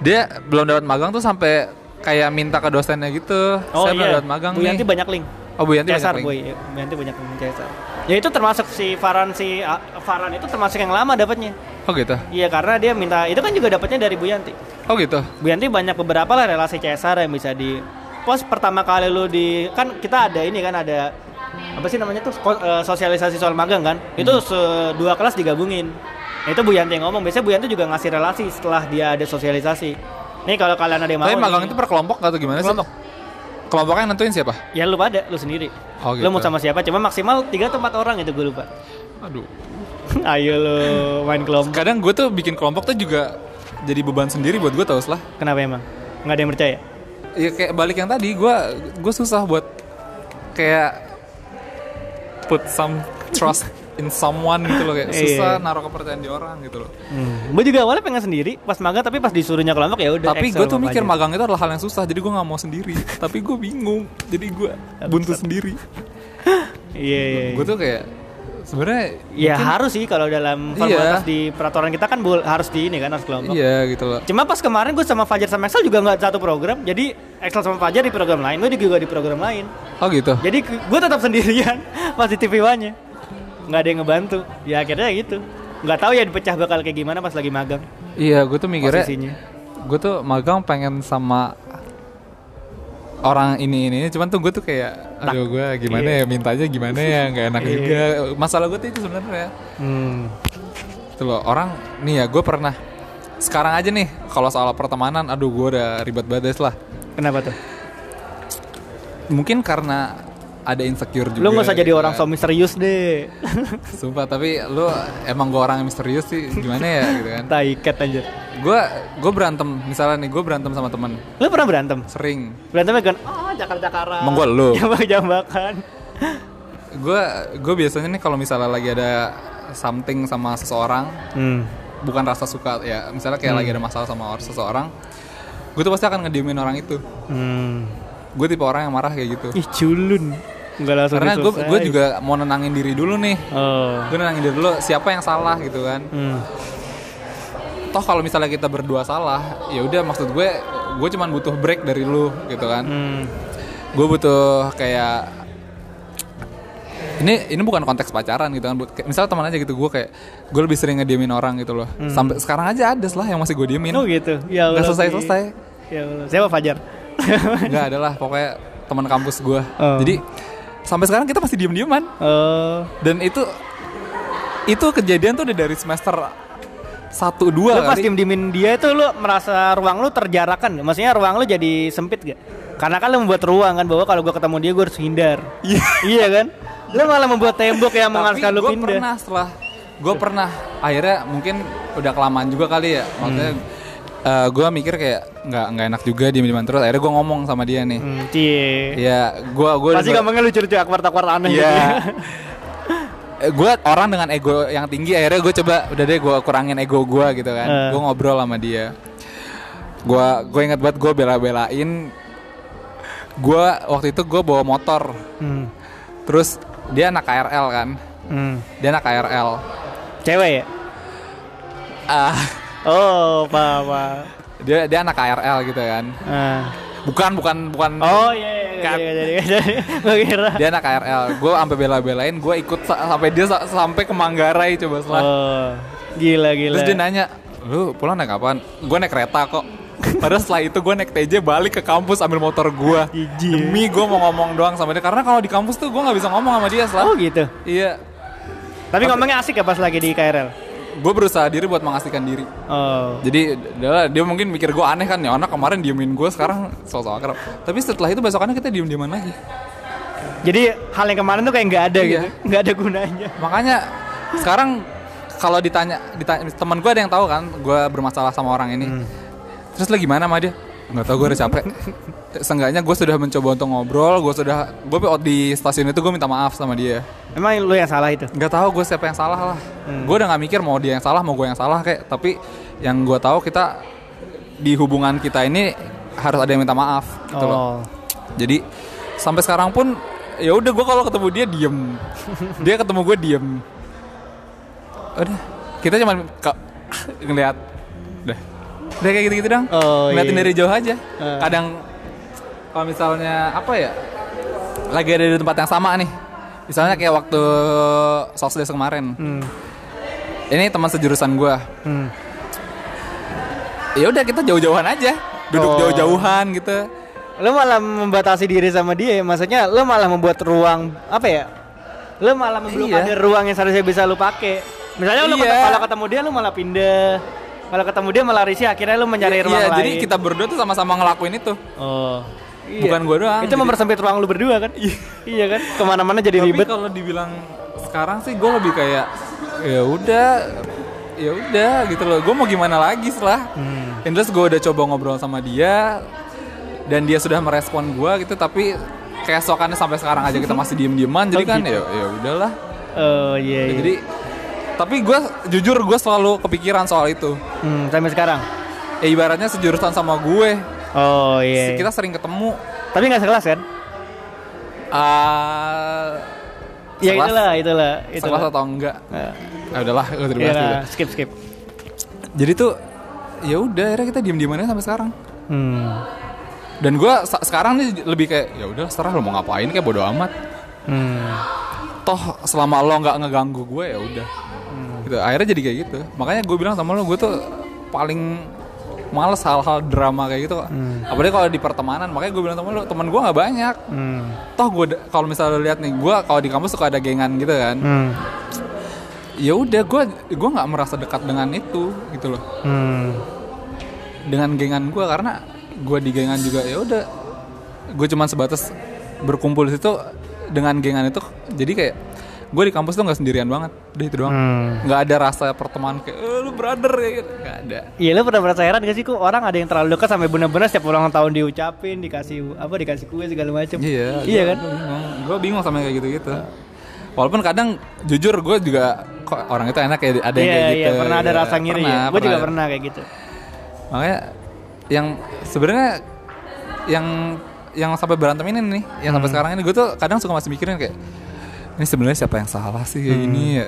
S2: dia belum dapat magang tuh sampai kayak minta ke dosennya gitu. Saya belum dapat magang
S1: Oh, iya. Bu
S2: nih.
S1: Yanti banyak link.
S2: Oh Bu Yanti banyak
S1: Cesar,
S2: link.
S1: Bu Ya, Bu Yanti banyak link Cesar. Ya itu termasuk si Farhan si ah, Farhan itu termasuk yang lama dapatnya.
S2: Oh gitu.
S1: Iya karena dia minta itu kan juga dapatnya dari Bu Yanti.
S2: Oh gitu.
S1: Bu Yanti banyak beberapa lah relasi CSR yang bisa di pos pertama kali lu di kan kita ada ini kan ada apa sih namanya tuh ko- eh, sosialisasi soal magang kan itu
S2: Hmm.
S1: se- dua kelas digabungin Nah, itu Bu Yanti yang ngomong biasanya Bu Yanti juga ngasih relasi setelah dia ada sosialisasi nih kalau kalian ada yang mau
S2: Tapi magang
S1: nih,
S2: itu per kelompok atau gimana sih?
S1: Kelompok.
S2: Kelompoknya yang nentuin siapa?
S1: ya lu pada lu sendiri
S2: Oh,
S1: lu mau
S2: gitu.
S1: sama siapa cuma maksimal tiga atau empat orang itu gue lupa (laughs)
S2: Aduh.
S1: ayo lu main kelompok
S2: Kadang gue tuh bikin kelompok tuh juga jadi beban sendiri buat gue tau lah.
S1: kenapa emang nggak ada yang percaya
S2: Ya kayak balik yang tadi, gue gue susah buat kayak put some
S1: (laughs)
S2: trust in someone gitu loh kayak
S1: Iya.
S2: susah naruh kepercayaan di orang gitu loh.
S1: hmm. gue juga awalnya pengen sendiri pas magang tapi pas disuruhnya kelompok ya udah
S2: tapi
S1: Excel
S2: gue tuh
S1: apa
S2: mikir
S1: aja.
S2: magang itu adalah hal yang susah jadi gue nggak mau
S1: (laughs)
S2: sendiri tapi gue bingung jadi gue buntu sendiri
S1: iya iya, iya.
S2: gue tuh kayak sebenarnya
S1: Ya harus sih kalau dalam formalitas
S2: Iya.
S1: di peraturan kita kan bol- harus di ini kan harus kelompok.
S2: iya gitu loh
S1: Cuma pas kemarin gue sama Fajar sama Excel juga nggak satu program, jadi Excel sama Fajar di program lain, gue juga di program lain.
S2: oh gitu
S1: Jadi gue tetap (laughs) sendirian pas di TV-nya, nggak ada yang ngebantu. Ya akhirnya gitu. Nggak tahu ya dipecah bakal kayak gimana pas lagi magang
S2: iya gue tuh mikirnya
S1: posisinya.
S2: gue tuh magang pengen sama orang ini ini ini. cuman tuh gue tuh kayak aduh gue gimana
S1: Iya.
S2: ya mintanya gimana ya nggak enak juga masalah gue tuh itu sebenarnya
S1: Hmm.
S2: Itu loh orang nih ya gue pernah sekarang aja nih kalau soal pertemanan aduh gue udah ribet banget lah
S1: Kenapa tuh?
S2: mungkin karena ada insecure juga
S1: Lu nggak usah jadi
S2: gitu
S1: orang
S2: kan.
S1: so misterius
S2: (laughs)
S1: deh.
S2: Sumpah tapi lu emang gue orang yang misterius sih gimana ya gitu kan.
S1: Taiket anjir.
S2: Gue gue berantem misalnya nih gue berantem sama temen
S1: Lu pernah berantem?
S2: sering.
S1: Berantemnya kan, oh cakar-cakaran.
S2: Emang gua lu?
S1: (laughs) Jambak-jambakan.
S2: Gue gue biasanya nih kalau misalnya lagi ada something sama seseorang
S1: Hmm.
S2: bukan rasa suka ya misalnya kayak lagi ada masalah sama orang seseorang gue tuh pasti akan ngediemin orang itu
S1: Hmm.
S2: gue tipe orang yang marah kayak gitu
S1: Ih culun. Enggak langsung
S2: karena gue
S1: diselesai.
S2: gue juga mau nenangin diri dulu nih
S1: Oh.
S2: gue nenangin diri dulu siapa yang salah gitu kan
S1: Hmm.
S2: toh kalau misalnya kita berdua salah ya udah maksud gue gue cuman butuh break dari lu gitu kan
S1: Hmm.
S2: gue butuh kayak ini ini bukan konteks pacaran gitu kan Buat- kayak- misalnya teman aja gitu gue kayak gue lebih sering ngediemin orang gitu loh sampai sekarang aja ada lah yang masih gue diemin
S1: Hmm. Oh gitu. Ya
S2: nggak
S1: Allah,
S2: selesai
S1: Ki.
S2: selesai
S1: Ya Allah. Siapa Fajar? (laughs)
S2: nggak ada lah pokoknya teman kampus gue
S1: Oh.
S2: jadi sampai sekarang kita masih diem dieman
S1: Oh.
S2: dan itu itu kejadian tuh udah dari semester satu
S1: Lu
S2: dua
S1: pas
S2: kali
S1: diem-diemin dia itu lu merasa ruang lu terjarakan nggak? Maksudnya ruang lu jadi sempit gak? Karena kan lu membuat ruang kan bahwa kalau gua ketemu dia gua harus hindar.
S2: Iya.
S1: iya kan? Lu malah membuat tembok yang mengharuskan lu
S2: gue
S1: pindah.
S2: pernah setelah gue pernah akhirnya mungkin udah kelamaan juga kali ya maksudnya
S1: Hmm.
S2: gue mikir kayak nggak nggak enak juga di dieman terus akhirnya gue ngomong sama dia nih
S1: Hmm, cie.
S2: ya gue gue
S1: Pasti gampangnya lucu-lucu akbar-akbar aneh gitu
S2: (laughs) ya
S1: ya.
S2: gue orang dengan ego yang tinggi akhirnya gue coba udah deh gue kurangin ego gue gitu kan
S1: Eh.
S2: gue ngobrol sama dia gue gue inget banget gue bela-belain gue waktu itu gue bawa motor
S1: Hmm.
S2: terus dia anak KRL kan
S1: Hmm.
S2: dia anak KRL
S1: Cewek ya?
S2: ah
S1: Oh, paham.
S2: dia dia anak KRL gitu kan
S1: Ah.
S2: bukan bukan bukan
S1: Oh iya iya
S2: Kan.
S1: iya iya, iya, iya. (laughs) Gua kira.
S2: dia anak KRL gue sampai bela-belain gue ikut sa- sampai dia sa- sampai ke Manggarai coba setelah
S1: Oh, iya. gila gila.
S2: terus dia nanya lu pulang naik kapan gue naik kereta kok Padahal setelah itu gue naik TJ balik ke kampus ambil motor gue
S1: Jijik.
S2: Demi gue mau ngomong doang sama dia Karena kalau di kampus tuh gue gak bisa ngomong sama dia
S1: Oh
S2: setelah
S1: gitu.
S2: Iya
S1: Tapi ngomongnya asik ya pas lagi di KRL.
S2: Gue berusaha diri buat mengasihkan diri
S1: Oh.
S2: Jadi dia, dia mungkin mikir gue aneh kan ya anak kemarin diemin gue sekarang sosok akrab. Tapi setelah itu besokannya kita diem-dieman lagi.
S1: Jadi hal yang kemarin tuh kayak nggak ada
S2: Iya.
S1: gitu, nggak ada gunanya.
S2: Makanya sekarang kalau ditanya, ditanya teman gue ada yang tahu kan gue bermasalah sama orang ini. Terus lagi gimana sama dia? nggak tau gue udah capek Seenggaknya gue sudah mencoba untuk ngobrol Gue sudah Gue di stasiun itu gue minta maaf sama dia
S1: Emang lu yang salah itu?
S2: nggak tahu gue siapa yang salah lah gue udah nggak mikir mau dia yang salah mau gue yang salah kayak tapi yang gue tahu kita di hubungan kita ini harus ada yang minta maaf gitu loh
S1: oh.
S2: jadi sampai sekarang pun ya udah gue kalau ketemu dia
S1: (laughs)
S2: diem dia ketemu gue diem udah kita cuman ka- ngeliat udah udah kayak gitu gitu dong
S1: Oh,
S2: ngeliatin
S1: iya.
S2: dari jauh aja
S1: Eh.
S2: kadang kalau misalnya apa ya lagi ada di tempat yang sama nih misalnya kayak waktu sosdes kemarin
S1: Hmm.
S2: ini teman sejurusan gue
S1: Hmm.
S2: ya udah kita jauh-jauhan aja duduk
S1: Oh.
S2: jauh-jauhan gitu
S1: Lu malah membatasi diri sama dia, ya? maksudnya lu malah membuat ruang apa ya? Lu malah belum
S2: Iya.
S1: ada ruang yang seharusnya bisa lu pakai. Misalnya lu
S2: Iya.
S1: kata- kalau ketemu dia lu malah pindah, kalau ketemu dia malah risih, akhirnya lu mencari
S2: Iya,
S1: ruang lain.
S2: jadi kita berdua tuh sama-sama ngelakuin itu
S1: Oh.
S2: Bukan gua doang,
S1: Itu
S2: jadi-
S1: mempersempit ruang lu berdua kan? iya kan? Kemana-mana jadi
S2: Gitu. Tapi
S1: ribet.
S2: kalau dibilang sekarang sih gue lebih kayak ya udah ya udah gitu loh. Gue mau gimana lagi setelah. And terus gue udah coba ngobrol sama dia dan dia sudah merespon gue gitu tapi keesokannya sampai sekarang aja kita masih diem-dieman jadi
S1: Oh,
S2: kan
S1: gitu.
S2: ya ya udahlah.
S1: Oh iya. iya.
S2: Jadi tapi gue jujur gue selalu kepikiran soal itu.
S1: Hmm, sampai sekarang.
S2: Ya ibaratnya sejurusan sama gue.
S1: Oh iya.
S2: Kita sering ketemu.
S1: Tapi nggak sekelas kan?
S2: ah,
S1: Ya
S2: sekelas-
S1: itulah, itulah, itulah.
S2: sekelas atau enggak?
S1: Nah,
S2: Ya udahlah, gue terima
S1: iyalah,
S2: kasih dulu.
S1: skip skip.
S2: jadi tuh ya udah akhirnya kita diem diemannya sampai sekarang
S1: Hmm.
S2: dan gue sekarang nih lebih kayak ya udah serah lo mau ngapain kayak bodo amat
S1: Hmm.
S2: toh selama lo nggak ngeganggu gue ya udah gitu akhirnya jadi kayak gitu makanya gue bilang sama lo gue tuh paling males hal-hal drama kayak gitu apalagi kalau di pertemanan makanya gue bilang sama lo teman gue nggak banyak
S1: Hmm.
S2: toh gue da- kalau misalnya lo lihat nih gue kalau di kampus suka ada gengan gitu kan
S1: Hmm.
S2: ya udah gue gue nggak merasa dekat dengan itu gitu loh
S1: Hmm.
S2: dengan gengan gue karena gue di gengan juga ya udah gue cuman sebatas berkumpul di situ dengan gengan itu jadi kayak gue di kampus tuh nggak sendirian banget udah itu doang
S1: Hmm.
S2: nggak ada rasa pertemanan kayak "Eh, lu brother kayak gitu nggak ada
S1: Iya lu pernah merasa heran gak sih kok orang ada yang terlalu dekat sampai benar-benar setiap ulang tahun diucapin, dikasih apa dikasih kue segala macam. Iya kan?
S2: gue bingung sama yang kayak gitu gitu walaupun kadang jujur gue juga kok orang itu enak ya ada yang
S1: Iya
S2: kayak gitu
S1: iya pernah ada
S2: gitu.
S1: rasa ngiri
S2: Pernah,
S1: ya. Gue juga
S2: ada.
S1: pernah kayak gitu.
S2: makanya yang sebenarnya yang yang sampai berantem ini nih yang sampai sekarang ini gue tuh kadang suka masih mikirin kayak ini sebenarnya siapa yang salah sih kayak gini ya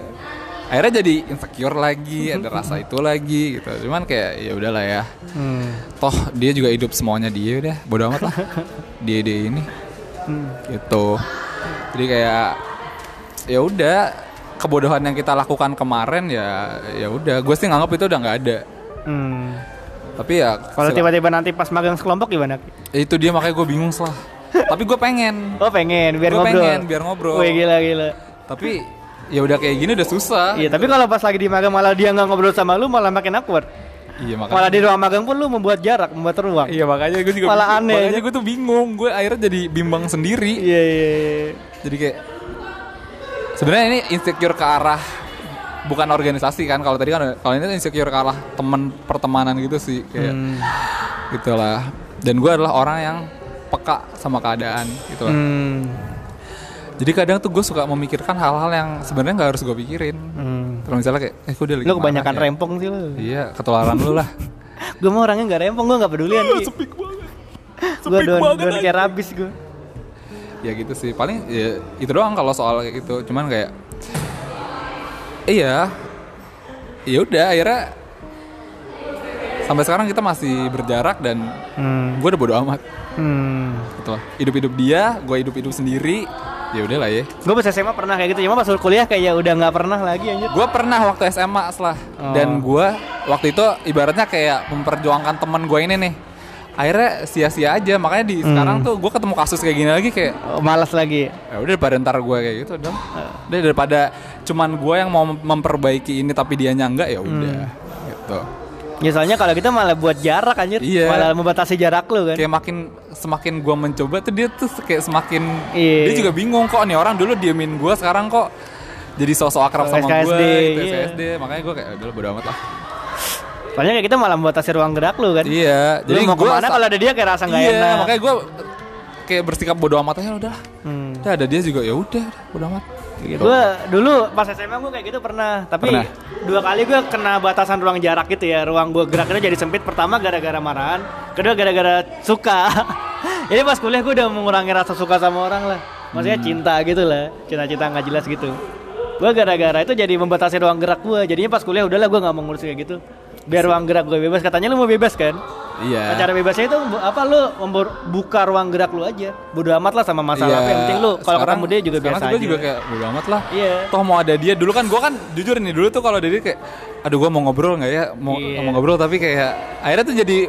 S2: akhirnya jadi insecure lagi ada rasa itu lagi gitu cuman kayak ya udahlah ya
S1: Hmm.
S2: toh dia juga hidup semuanya dia udah bodo amat lah dia dia ini
S1: hmm,
S2: gitu jadi kayak ya udah kebodohan yang kita lakukan kemarin ya ya udah gue sih nganggap itu udah nggak ada
S1: Hmm.
S2: tapi ya
S1: Kalau
S2: sila-
S1: tiba-tiba nanti pas magang sekelompok gimana?
S2: Ya, itu dia makanya gue bingung selah tapi gue pengen
S1: Oh pengen biar
S2: Gua
S1: ngobrol.
S2: pengen, biar ngobrol.
S1: Wih gila gila.
S2: tapi ya udah kayak gini udah susah
S1: Iya tapi kalau pas lagi di magang malah dia nggak ngobrol sama lu malah makin awkward.
S2: iya
S1: Malah
S2: makanya
S1: di ruang magang pun lu membuat jarak, membuat ruang.
S2: iya makanya gue juga
S1: Malah
S2: bingung.
S1: aneh.
S2: makanya gue tuh bingung gue akhirnya jadi bimbang sendiri
S1: Iya iya. iya.
S2: jadi kayak sebenarnya ini insecure ke arah bukan organisasi kan kalau tadi kan kalau ini tuh insecure ke arah temen pertemanan gitu sih kayak
S1: Hmm.
S2: gitulah dan gue adalah orang yang peka sama keadaan gitu lah.
S1: Hmm.
S2: jadi kadang tuh gue suka memikirkan hal-hal yang sebenarnya nggak harus gue pikirin
S1: Hmm.
S2: terus misalnya kayak eh gue udah lagi
S1: Lu
S2: marah
S1: kebanyakan
S2: ya.
S1: rempong sih lu.
S2: Iya, ketularan lu lah.
S1: Gue mah orangnya nggak rempong, gue nggak pedulian.
S2: Sepik banget.
S1: Gue don don kayak rabis gue.
S2: Ya gitu sih. Paling ya, itu doang kalau soal kayak gitu. Cuman kayak Iya. Ya udah akhirnya sampai sekarang kita masih berjarak dan
S1: Hmm.
S2: gue udah bodo amat
S1: Hmm.
S2: gitu lah. Hidup-hidup dia, gue hidup-hidup sendiri. Ya udahlah ya.
S1: Gue pas SMA pernah kayak gitu, cuma pas kuliah kayak udah nggak pernah lagi anjir.
S2: Gue pernah waktu SMA lah dan gue waktu itu ibaratnya kayak memperjuangkan teman gue ini nih. Akhirnya sia-sia aja makanya di sekarang tuh gue ketemu kasus kayak gini lagi kayak
S1: Oh, malas lagi.
S2: ya udah daripada ntar gue kayak gitu dong udah daripada cuman gue yang mau mem- memperbaiki ini tapi dia enggak ya udah
S1: Hmm.
S2: gitu
S1: Ya soalnya kalau kita malah buat jarak anjir,
S2: Iya.
S1: malah membatasi jarak lu kan.
S2: kayak makin semakin gue mencoba tuh dia tuh kayak semakin
S1: Iya.
S2: dia juga bingung kok nih orang dulu diemin gue sekarang kok jadi sosok akrab
S1: Oh,
S2: sama gue
S1: SKSD,
S2: gitu,
S1: iya.
S2: SKSD makanya gue kayak udah bodo amat lah
S1: Soalnya kayak kita malah membatasi ruang gerak lu kan.
S2: Iya,
S1: Jadi mau
S2: gua
S1: kemana
S2: sa-
S1: kalau ada dia kayak rasa nggak
S2: iya,
S1: enak.
S2: makanya gue kayak bersikap bodoh amat aja udah.
S1: Hmm.
S2: Udah ada dia juga ya udah bodoh amat. Gitu.
S1: Gue dulu pas SMA gue kayak gitu pernah, tapi
S2: Pernah.
S1: dua kali gue kena batasan ruang jarak gitu ya, ruang gue geraknya jadi sempit. Pertama gara-gara marahan, kedua gara-gara suka. (laughs) jadi pas kuliah gue udah mengurangi rasa suka sama orang lah, maksudnya
S2: Hmm.
S1: cinta gitu lah, cinta-cinta nggak jelas gitu. Gue gara-gara itu jadi membatasi ruang gerak gue, jadinya pas kuliah udahlah gue nggak mau ngurus kayak gitu. Biar ruang gerak gue bebas, katanya lu mau bebas kan? Nah,
S2: Iya.
S1: Cara bebasnya itu bu- apa lu membor- buka ruang gerak lu aja. Bodo amat lah sama masalah apa yang penting lu kalau
S2: Iya. sekarang-
S1: ketemu dia juga
S2: sekarang
S1: biasa
S2: tuh
S1: aja.
S2: gua juga kayak bodo amat lah.
S1: Iya.
S2: Toh mau ada dia dulu kan gue kan jujur nih dulu tuh kalau ada dia kayak aduh gue mau ngobrol nggak ya mau
S1: Iya.
S2: mau ngobrol tapi kayak akhirnya tuh jadi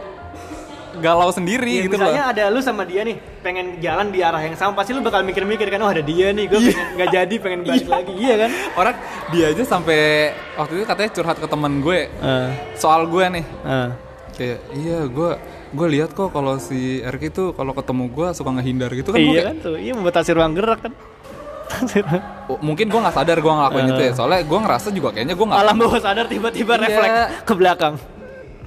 S2: galau sendiri
S1: Iya,
S2: gitu
S1: misalnya
S2: loh.
S1: ada lu sama dia nih pengen jalan di arah yang sama pasti lu bakal mikir-mikir kan oh ada dia nih
S2: Iya.
S1: gue pengen nggak jadi pengen balik lagi iya kan
S2: Orang dia aja sampai waktu itu katanya curhat ke teman gue soal gue nih kayak iya gue gue lihat kok kalau si RK itu kalau ketemu gue suka ngehindar gitu kan gua
S1: iya
S2: kayak,
S1: kan tuh iya membatasi ruang gerak
S2: (laughs)
S1: kan
S2: "Oh, mungkin gue nggak sadar gue ngelakuin
S1: Eh.
S2: itu ya soalnya gue ngerasa juga kayaknya gue nggak
S1: alam bawah sadar tiba-tiba
S2: Iya.
S1: refleks ke belakang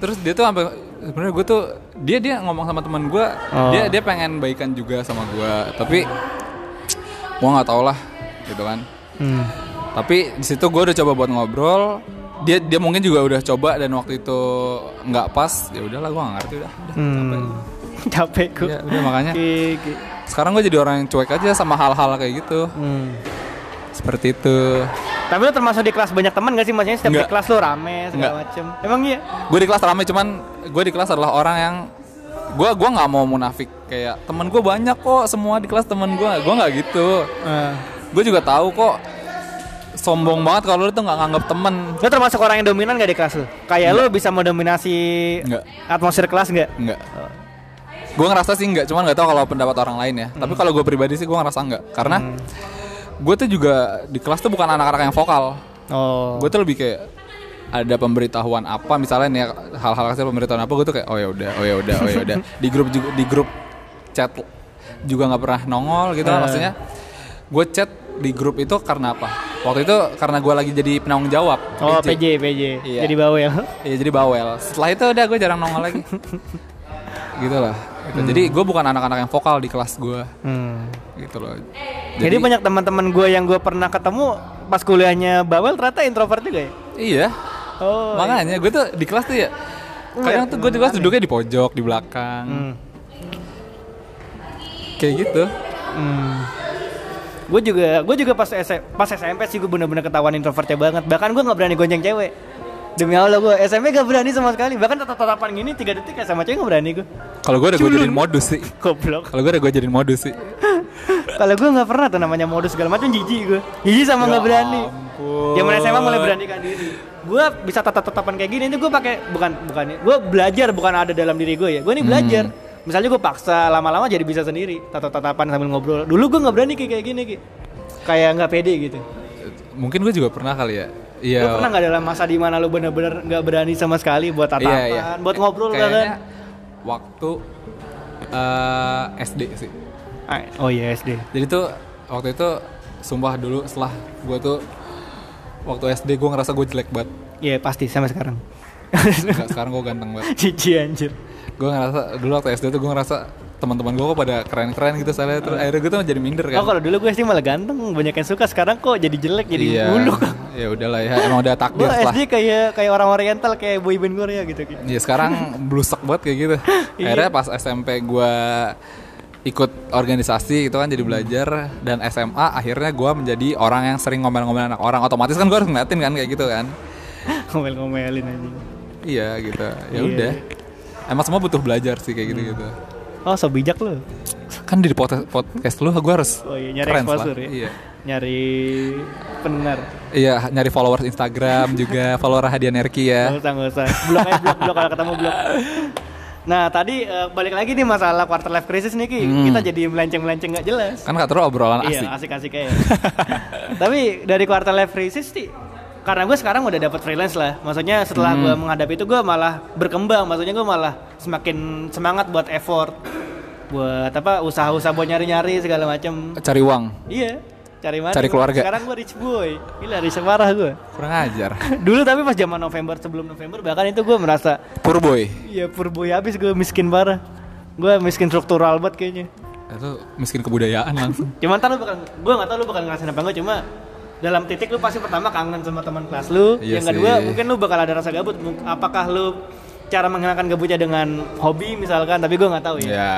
S2: terus dia tuh sampai sebenarnya gue tuh dia dia ngomong sama teman gue
S1: Oh.
S2: dia dia pengen baikan juga sama gue tapi gue nggak tau lah gitu kan tapi di situ gue udah coba buat ngobrol dia dia mungkin juga udah coba dan waktu itu nggak pas ya udahlah gue nggak ngerti udah udah
S1: Hmm. capek gue
S2: Iya, udah makanya
S1: Oke, oke.
S2: sekarang gue jadi orang yang cuek aja sama hal-hal kayak gitu
S1: Hmm.
S2: seperti itu
S1: tapi lu termasuk di kelas banyak teman gak sih maksudnya setiap di
S2: Nggak.
S1: kelas lu rame segala
S2: Nggak.
S1: macem emang iya
S2: gue di kelas rame cuman gue di kelas adalah orang yang gue gua nggak mau munafik kayak temen gue banyak kok semua di kelas temen gue gue nggak gitu
S1: Eh.
S2: gue juga tahu kok sombong banget kalau lu tuh nggak nganggap temen
S1: lu termasuk orang yang dominan gak di kelas lu kayak lu bisa mendominasi
S2: Nggak.
S1: atmosfer kelas nggak
S2: nggak gue Eh, ngerasa sih nggak cuman nggak tahu kalau pendapat orang lain ya tapi kalau gue pribadi sih gue ngerasa nggak karena gue tuh juga di kelas tuh bukan anak-anak yang vokal
S1: oh
S2: gue tuh lebih kayak ada pemberitahuan apa misalnya nih hal-hal kecil pemberitahuan apa gue tuh kayak oh ya udah oh ya udah oh ya udah di grup juga di grup chat juga nggak pernah nongol gitu kan. maksudnya gue chat di grup itu karena apa waktu itu karena gue lagi jadi penanggung jawab
S1: Oh
S2: PJ.
S1: PJ PJ
S2: Iya.
S1: jadi bawel.
S2: Iya jadi bawel. Setelah itu udah gue jarang nongol
S1: (laughs)
S2: lagi. gitu lah. Gitu.
S1: Hmm.
S2: Jadi gue bukan anak-anak yang vokal di kelas gue. Gitu loh.
S1: Jadi, banyak teman-teman gue yang gue pernah ketemu pas kuliahnya bawel ternyata introvert juga ya.
S2: Iya.
S1: Oh
S2: Makanya gue tuh di kelas tuh ya. Kadang tuh gue di kelas
S1: ya?
S2: duduknya di pojok, di belakang.
S1: Hmm.
S2: Kayak gitu.
S1: gue juga gue juga pas S- pas SMP sih gue bener-bener ketahuan introvertnya banget. Bahkan gue nggak berani gonceng cewek. Demi Allah gue SMP gak berani sama sekali. Bahkan tatap-tatapan gini tiga detik ya sama cewek gak berani gue.
S2: Kalau gue udah gue jadiin modus sih.
S1: Goblok.
S2: Kalau gue udah gue jadiin modus sih.
S1: Kalau gue nggak pernah tuh namanya modus segala macam jijik gue. Jijik sama nggak berani.
S2: Ya ampun.
S1: Zaman SMA mulai beranikan diri. Gue bisa tatap-tatapan kayak gini itu gue pakai bukan bukan gue belajar bukan ada dalam diri gue ya. Gue
S2: Hmm.
S1: ini belajar. Misalnya gue paksa lama-lama jadi bisa sendiri tatap-tatapan sambil ngobrol. Dulu gue nggak berani Ki, kayak gini Ki. Kayak nggak pede gitu.
S2: Mungkin gue juga pernah kali ya. Iya.
S1: Lu pernah nggak dalam masa di mana lu bener-bener nggak berani sama sekali
S2: Iya,
S1: buat tatapan, buat ngobrol
S2: Kayaknya
S1: kan?
S2: waktu eh, SD sih.
S1: Ah, Oh iya SD.
S2: Jadi tuh waktu itu sumpah dulu setelah gue tuh waktu SD gue ngerasa gue jelek banget.
S1: Iya pasti sampai sekarang. (laughs)
S2: Nggak, sekarang gue ganteng banget.
S1: Cici anjir.
S2: Gue ngerasa dulu waktu SD tuh gue ngerasa teman-teman gue kok pada keren-keren gitu soalnya terus akhirnya gue tuh jadi minder
S1: Oh
S2: kan.
S1: kalau dulu gue SD malah ganteng, banyak yang suka. Sekarang kok jadi jelek, jadi
S2: iya.
S1: buluk.
S2: Ya udahlah ya emang udah
S1: Gue (laughs)
S2: takdir lah.
S1: SD kayak kayak orang Oriental, kayak (laughs) boy band Korea gitu. Ki.
S2: Ya sekarang blusak banget kayak
S1: (laughs)
S2: gitu.
S1: Iya.
S2: Akhirnya pas SMP gue ikut organisasi gitu kan jadi belajar dan SMA akhirnya gue menjadi orang yang sering ngomel-ngomel anak orang otomatis kan gue harus ngeliatin kan kayak gitu kan
S1: Ngomel-ngomelin anjing.
S2: Iya gitu. Ya udah. Emang semua butuh belajar sih kayak gitu-gitu.
S1: Oh so bijak lu.
S2: Kan di podcast, podcast lu gue harus
S1: Oh iya nyari
S2: keren
S1: exposure
S2: lah.
S1: ya.
S2: Iya.
S1: Nyari pendengar.
S2: Iya, nyari followers
S1: (laughs)
S2: Instagram juga, follower Hadian Erki ya.
S1: Nggak usah, nggak usah. Blok aja, blok, blok kalau ketemu
S2: (laughs)
S1: blok. Nah tadi eh, balik lagi nih masalah quarter life crisis nih Ki.
S2: Hmm.
S1: Kita jadi melenceng-melenceng nggak jelas.
S2: Kan kata lu
S3: Oh,
S2: obrolan asik.
S1: Iya asik-asik aja. (laughs) Tapi dari quarter life crisis sih karena gue sekarang udah dapat freelance lah. Maksudnya setelah gue
S3: Hmm.
S1: menghadapi itu gue malah berkembang. Maksudnya gue malah semakin semangat buat effort, buat apa usaha-usaha buat nyari-nyari segala macem.
S2: Cari uang.
S1: Iya. Cari mana?
S3: Cari keluarga.
S1: Sekarang gue rich boy. Gila rich parah gue.
S2: Kurang ajar.
S1: Dulu tapi pas zaman November sebelum November bahkan itu gue merasa
S3: Purboy.
S1: ya purboy habis gue miskin parah. Gue miskin struktural banget kayaknya.
S2: Itu miskin kebudayaan langsung.
S1: Cuman ntar lu bakal, gue gak tau lu bakal ngerasain apa enggak cuma dalam titik lu pasti pertama kangen sama teman kelas lu
S2: Iya
S1: Yang kedua
S2: sih.
S1: mungkin lu bakal ada rasa gabut Mung- Apakah lu cara menghilangkan gabutnya dengan hobi misalkan tapi gue gak tahu ya
S2: ya,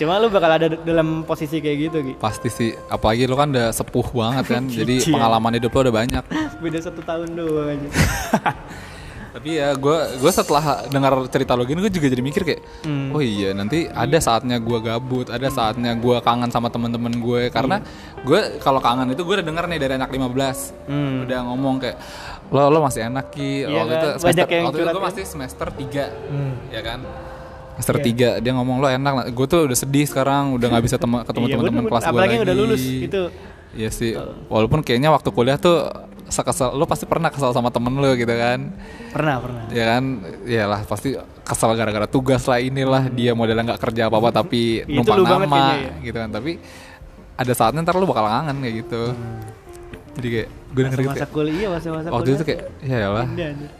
S1: Cuma lu bakal ada d- dalam posisi kayak gitu Gi
S2: pasti sih. Apalagi lu kan udah sepuh banget
S1: (laughs)
S2: kan. jadi
S1: Iya.
S2: pengalaman hidup lu udah banyak.
S1: Beda satu tahun doang aja
S2: Tapi ya gue gue setelah dengar cerita lo gini gue juga jadi mikir kayak
S1: Hmm.
S2: oh iya nanti ada saatnya gue gabut, ada saatnya gue kangen sama temen-temen gue karena
S1: Hmm.
S2: gue kalau kangen itu gue udah denger nih dari anak 15
S1: Hmm.
S2: udah ngomong kayak lo lo masih enak
S1: Iya
S2: ki waktu
S1: kan?
S2: itu
S1: Banyak
S2: semester
S1: yang
S2: waktu
S1: curhat
S2: itu
S1: Hmm.
S2: gue
S1: kan?
S2: masih semester 3 ya kan
S1: Iya.
S2: semester 3 dia ngomong lo enak gue tuh udah sedih sekarang udah nggak bisa tema- (laughs) ketemu
S1: Iya,
S2: teman-teman
S1: bener-bener.
S2: kelas gue
S1: Apalagi
S2: lagi
S1: yang udah lulus, itu.
S2: Iya sih, walaupun kayaknya waktu kuliah tuh sekesal, lo pasti pernah kesal sama temen lo gitu kan
S1: Pernah pernah
S2: ya kan ya lah pasti kesal gara-gara tugas lah inilah dia modelnya nggak kerja
S1: (laughs)
S2: apa apa tapi
S1: Hmm. Itu
S2: numpang
S1: lu banget
S2: nama
S1: kayaknya ya.
S2: gitu kan tapi ada saatnya ntar lu bakal kangen kayak gitu
S1: Hmm.
S2: jadi kayak gue denger gitu
S1: Masa-masa
S2: kayak,
S1: kuliah, iya masa-masa
S2: waktu
S1: kuliah
S2: itu kayak ya lah
S1: Indah, anjir.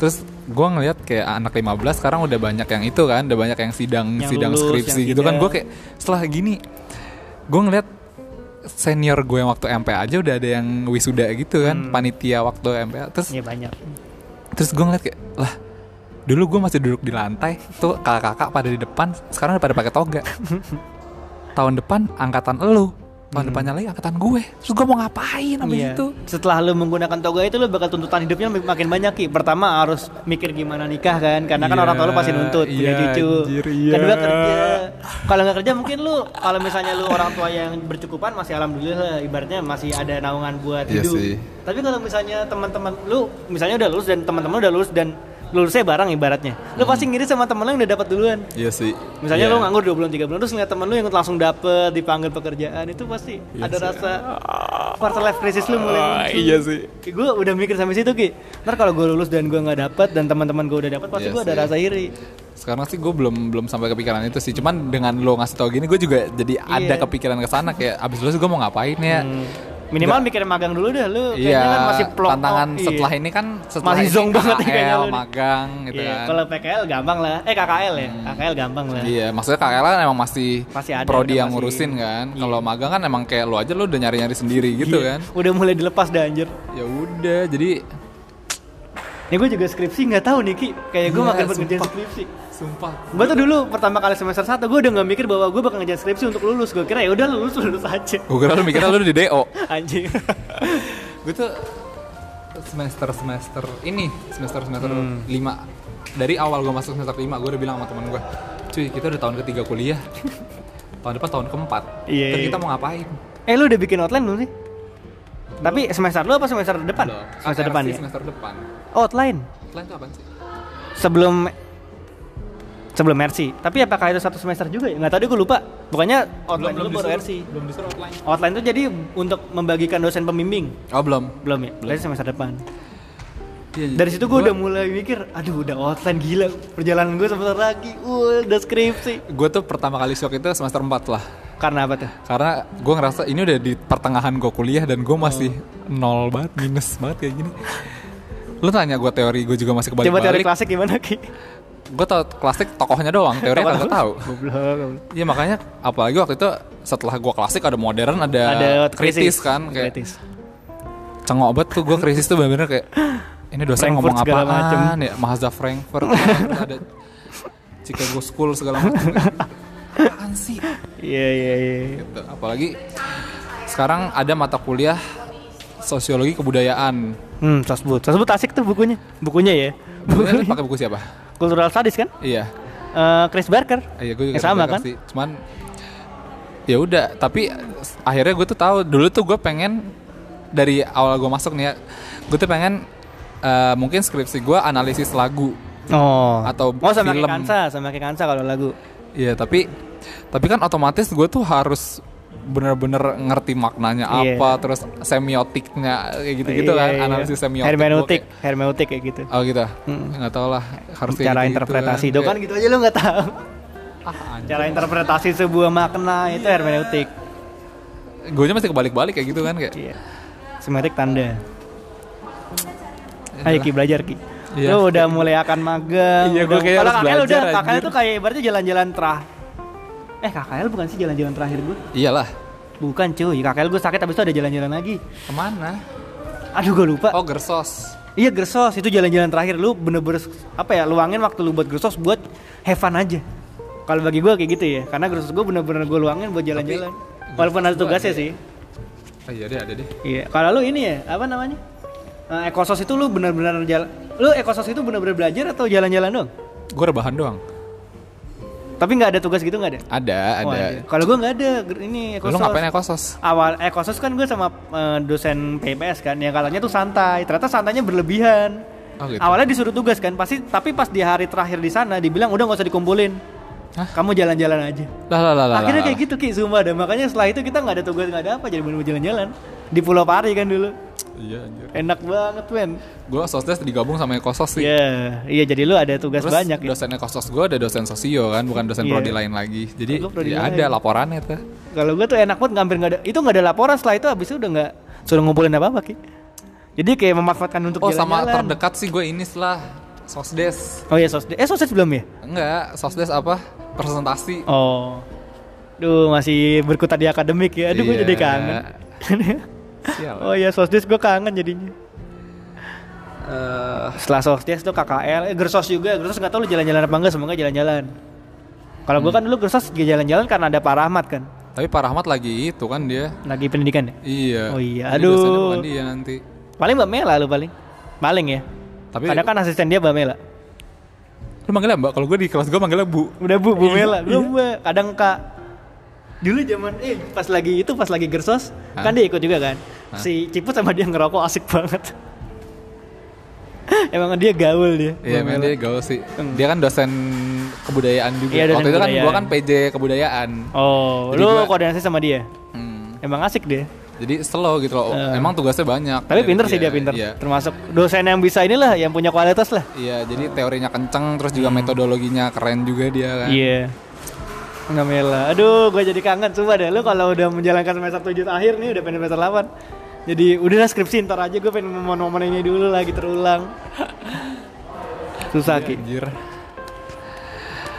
S2: terus gue ngeliat kayak anak 15 sekarang udah banyak yang itu kan udah banyak yang sidang
S1: Yang
S2: sidang
S1: lulus,
S2: skripsi
S1: yang iya.
S2: gitu kan
S1: sidang.
S2: gue kayak setelah gini gue ngeliat senior gue yang waktu MPA aja udah ada yang wisuda gitu kan
S1: Hmm.
S2: panitia waktu MPA terus
S1: Iya banyak
S2: Terus gue ngeliat kayak lah dulu gue masih duduk di lantai tuh kakak-kakak pada di depan sekarang udah pada pakai toga. tahun depan angkatan elu, tahun depannya lagi angkatan gue. Terus gue mau ngapain
S1: Hmm.
S2: abis
S1: Iya.
S2: itu?
S1: Setelah lu menggunakan toga itu lu bakal tuntutan hidupnya mak- makin banyak Ki. Pertama harus mikir gimana nikah kan karena kan
S2: Iya,
S1: orang tua lu pasti nuntut punya
S2: iya,
S1: cucu.
S2: anjir, iya.
S1: Kedua kerja. Kalau nggak kerja mungkin lu kalau misalnya lu orang tua yang bercukupan masih alhamdulillah ibaratnya masih ada naungan buat
S2: Iya
S1: hidup.
S2: sih.
S1: Tapi kalau misalnya teman-teman lu misalnya udah lulus dan teman-teman udah lulus dan lulusnya bareng ibaratnya. Lu pasti ngiri sama temen lu yang udah dapat duluan.
S2: Iya sih.
S1: Misalnya lu nganggur 2 bulan 3 bulan terus ngeliat temen lu yang langsung dapet dipanggil pekerjaan itu pasti ada rasa quarter life crisis lu mulai muncul.
S2: iya sih.
S1: Gue udah mikir sampai situ ki. Ntar kalau gue lulus dan gue nggak dapet dan teman-teman gue udah dapet pasti
S2: Iya
S1: gue ada
S2: sih.
S1: rasa iri.
S2: Sekarang sih gue belum belum sampai kepikiran itu sih. Cuman dengan lo ngasih tau gini gue juga jadi ada
S1: Iya.
S2: kepikiran ke sana kayak abis lulus gue mau ngapain ya?
S1: Minimal mikir magang dulu dah lu.
S2: Iya,
S1: Kayaknya kan masih plong.
S2: tantangan
S1: Iya.
S2: setelah ini kan setelah
S1: Masih
S2: ini
S1: zonk banget nih kayaknya
S2: KL,
S1: lu nih.
S2: magang gitu
S1: Iya,
S2: kan. Hmm.
S1: Kalau PKL gampang lah. Eh KKL ya. KKL gampang lah.
S2: Iya, maksudnya KKL kan emang masih,
S1: Masih ada,
S2: prodi
S1: udah
S2: yang
S1: masih-
S2: ngurusin kan. Kalau magang kan emang kayak lu aja lu udah nyari-nyari sendiri gitu
S1: Iya,
S2: kan.
S1: Udah mulai dilepas dah anjir.
S2: Ya udah, jadi
S1: Nih gue juga skripsi nggak tahu nih ki. Kayak gue
S2: Iya,
S1: makin buat ngerjain
S2: sumpah.
S1: skripsi.
S2: sumpah
S1: Gue tuh dulu pertama kali semester 1 gue udah nggak mikir bahwa gue bakal ngejar skripsi untuk lulus. Gue kira ya udah lulus lulus aja. (laughs)
S2: gue kira lu mikirnya lu di DO. (laughs)
S1: Anjing.
S2: gue tuh semester semester ini semester semester
S1: Hmm.
S2: lima dari awal gue masuk semester lima gue udah bilang sama teman gue cuy kita udah tahun ketiga kuliah (laughs) tahun depan tahun keempat
S1: Iya,
S2: Terus
S1: iya.
S2: kita mau ngapain
S1: eh lu udah bikin outline belum sih? Tapi semester lu apa semester depan?
S2: Loh,
S1: Semester
S2: ARC
S1: depan ya.
S2: semester depan
S1: Outline
S2: plan tuh apa sih
S1: sebelum sebelum RC. Tapi apakah itu satu semester juga ya? Nggak tahu gue lupa. Pokoknya outline dulu baru
S2: disuruh-
S1: RC.
S2: belum disuruh outline
S1: Outline tuh jadi untuk membagikan dosen pembimbing.
S2: oh belum
S1: Belum ya? Berarti semester depan.
S2: Iya, iya.
S1: Dari situ gue udah mulai mikir, aduh udah outline gila perjalanan gue sebentar lagi. Wah, udah skripsi.
S2: gue tuh pertama kali shock itu semester 4 lah
S1: Karena apa tuh?
S2: karena gue ngerasa ini udah di pertengahan gue kuliah dan gue masih
S1: Oh.
S2: nol banget minus banget kayak gini lu tanya gue teori gue juga masih kebalik
S1: Coba teori
S2: balik
S1: klasik gimana ki?
S2: gue tau klasik tokohnya doang teori kagak tahu
S1: Goblok.
S2: Iya makanya apalagi waktu itu setelah gue klasik ada modern ada,
S1: Ada
S2: Ya, kritis, kan kayak
S1: kritis.
S2: cengok banget tuh gue krisis tuh bener-bener kayak ini dosen
S1: Frankfurt
S2: ngomong
S1: segala
S2: apaan
S1: macem.
S2: ya Mazda Frankfurt terus ada Chicago School segala macam
S1: (laughs)
S2: apaan sih
S1: Iya iya iya.
S2: gitu. apalagi sekarang ada mata kuliah sosiologi kebudayaan
S1: Hmm, sosbud. Sosbud asik tuh bukunya. Bukunya ya.
S2: Bukunya
S1: (laughs)
S2: tuh pakai buku siapa
S1: Cultural studies kan?
S2: iya
S1: Eh, Chris Barker.
S2: Iya gue juga
S1: Eh, sama
S2: terpakar
S1: kan?
S2: sih. Cuman ya udah, tapi s- akhirnya gue tuh tahu dulu tuh gue pengen dari awal gue masuk nih ya, gue tuh pengen eh, mungkin skripsi gue analisis lagu.
S1: Oh.
S2: Atau
S1: oh, sama kayak
S2: film.
S1: Kansa, sama kayak Kansa kalau lagu.
S2: Iya, tapi tapi kan otomatis gue tuh harus bener-bener ngerti maknanya
S1: Iya.
S2: apa, terus semiotiknya kayak
S1: Iya,
S2: gitu-gitu kan,
S1: iya.
S2: analisis semiotik. Gua
S1: Hermeneutik,
S2: kayak,
S1: hermeneutik kayak gitu.
S2: Oh gitu, nggak tau lah harus kayak
S1: Cara
S2: gitu-gitu
S1: interpretasi.
S2: kan.
S1: Itu kan gitu aja lu nggak tahu.
S2: Kayak, ah, anjing.
S1: Cara interpretasi sebuah makna itu hermeneutik.
S2: gue masih kebalik-balik kayak gitu kan kayak.
S1: Iya. Simetrik tanda. Ayo Ki belajar Ki.
S2: Iya.
S1: Lu udah mulai akan magang.
S2: Iya,
S1: udah-
S2: gua kayaknya
S1: Kalau
S2: harus
S1: KKL udah,
S2: belajar,
S1: KKL
S2: anjir.
S1: tuh kayak ibaratnya jalan-jalan terakhir. Eh KKL bukan sih jalan-jalan terakhir gue?
S2: Iyalah.
S1: Bukan cuy, KKL gue sakit habis itu ada jalan-jalan lagi.
S2: Kemana?
S1: Aduh gue lupa.
S2: Oh gersos.
S1: Iya Gersos itu jalan-jalan terakhir lu bener-bener apa ya luangin waktu lu buat Gersos buat have fun aja. Kalau bagi gua kayak gitu ya, karena Gersos gua bener-bener gua luangin buat jalan-jalan. Walaupun ada tugasnya
S2: ya.
S1: sih.
S2: Oh, iya deh ada deh.
S1: Iya. Kalau lu ini ya apa namanya? Eh, ekosos itu lu bener-bener jalan. Lu ekosos itu bener-bener belajar atau jalan-jalan doang?
S2: Gue rebahan doang.
S1: Tapi nggak ada tugas gitu nggak ada?
S2: Ada
S1: Oh,
S2: ada.
S1: Kalau gua nggak ada ger- ini ekosos.
S2: Lu ngapain ekosos?
S1: Awal ekosos kan gue sama eh, dosen PPS kan, yang kalanya tuh santai. Ternyata santainya berlebihan.
S2: Oh gitu.
S1: Awalnya disuruh tugas kan, pasti tapi pas di hari terakhir di sana dibilang udah nggak usah dikumpulin.
S2: Hah?
S1: Kamu jalan-jalan aja.
S2: Lah lah lah lah.
S1: Akhirnya
S2: lah,
S1: kayak gitu Ki Zumba dan makanya setelah itu kita nggak ada tugas nggak ada apa jadi bener-bener jalan-jalan di Pulau Pari kan dulu.
S2: lah. Iya anjir.
S1: Enak banget men.
S2: Gue sosdes digabung sama ekosos sih.
S1: Iya, iya jadi lu ada tugas
S2: Terus
S1: banyak ya.
S2: dosen ekosos gue ada dosen sosio kan, bukan
S1: Iya.
S2: dosen prodi lain lagi. Jadi
S1: Lu prodi
S2: ya
S1: lain.
S2: ada laporannya tuh.
S1: Kalau gue tuh enak banget hampir nggak ada itu nggak ada laporan setelah itu habis itu udah nggak suruh ngumpulin apa apa Ki. Jadi kayak memanfaatkan untuk
S2: Oh sama
S1: jalan-jalan.
S2: terdekat sih gue ini setelah sosdes.
S1: Oh iya sosde. Eh sosde belum ya?
S2: Enggak, sosdes apa? Presentasi.
S1: Oh. Duh, masih berkutat di akademik ya. Aduh, gue
S2: Iya.
S1: jadi
S2: (laughs)
S1: kangen.
S2: Sial.
S1: oh iya, sosdes gue kangen jadinya.
S2: Eh,
S1: Setelah sosdes tuh KKL, eh gersos juga. Gersos nggak tahu lu jalan-jalan apa enggak, semoga jalan-jalan. Kalau
S2: Hmm.
S1: gue kan dulu gersos juga jalan-jalan karena ada Pak Rahmat kan.
S2: tapi Pak Rahmat lagi itu kan dia.
S1: Lagi pendidikan ya.
S2: Iya.
S1: Oh iya,
S2: Jadi dosennya
S1: aduh.
S2: bukan dia nanti.
S1: Paling Mbak Mela lu paling. Paling ya.
S2: Tapi
S1: Karena kan asisten dia Mbak Mela.
S2: lu manggilnya Mbak, kalau gue di kelas gue manggilnya Bu.
S1: Udah Bu,
S2: Iya.
S1: Bu Mela. Gue Mbak, kadang Kak. Dulu zaman eh pas lagi itu pas lagi gersos,
S2: Hah?
S1: kan dia ikut juga kan. Si Ciput sama dia ngerokok asik banget. (laughs) Emang dia gaul dia.
S2: Iya,
S1: Bu
S2: men
S1: Mela.
S2: dia gaul sih. Dia kan dosen kebudayaan juga.
S1: Hmm. Iya, dosen
S2: Waktu itu kan
S1: kebudayaan.
S2: gue kan PJ kebudayaan.
S1: Oh,
S2: Jadi
S1: lu
S2: gua-
S1: koordinasi sama dia.
S2: Hmm.
S1: Emang asik dia.
S2: Jadi slow gitu loh.
S1: Eh.
S2: Emang tugasnya banyak.
S1: Tapi
S2: Jadi
S1: pinter sih
S2: iya,
S1: dia pinter.
S2: Iya.
S1: Termasuk dosen yang bisa inilah yang punya kualitas lah.
S2: Iya, jadi teorinya kenceng terus juga metodologinya keren juga dia kan.
S1: Hmm. Iya. Nggak mela. Aduh, gue jadi kangen coba deh. Lu kalau udah menjalankan semester 7 akhir nih, udah pengen semester 8. Jadi udahlah skripsi ntar aja gue pengen momen-momen ini dulu lagi terulang. Susah Ki.
S2: Anjir.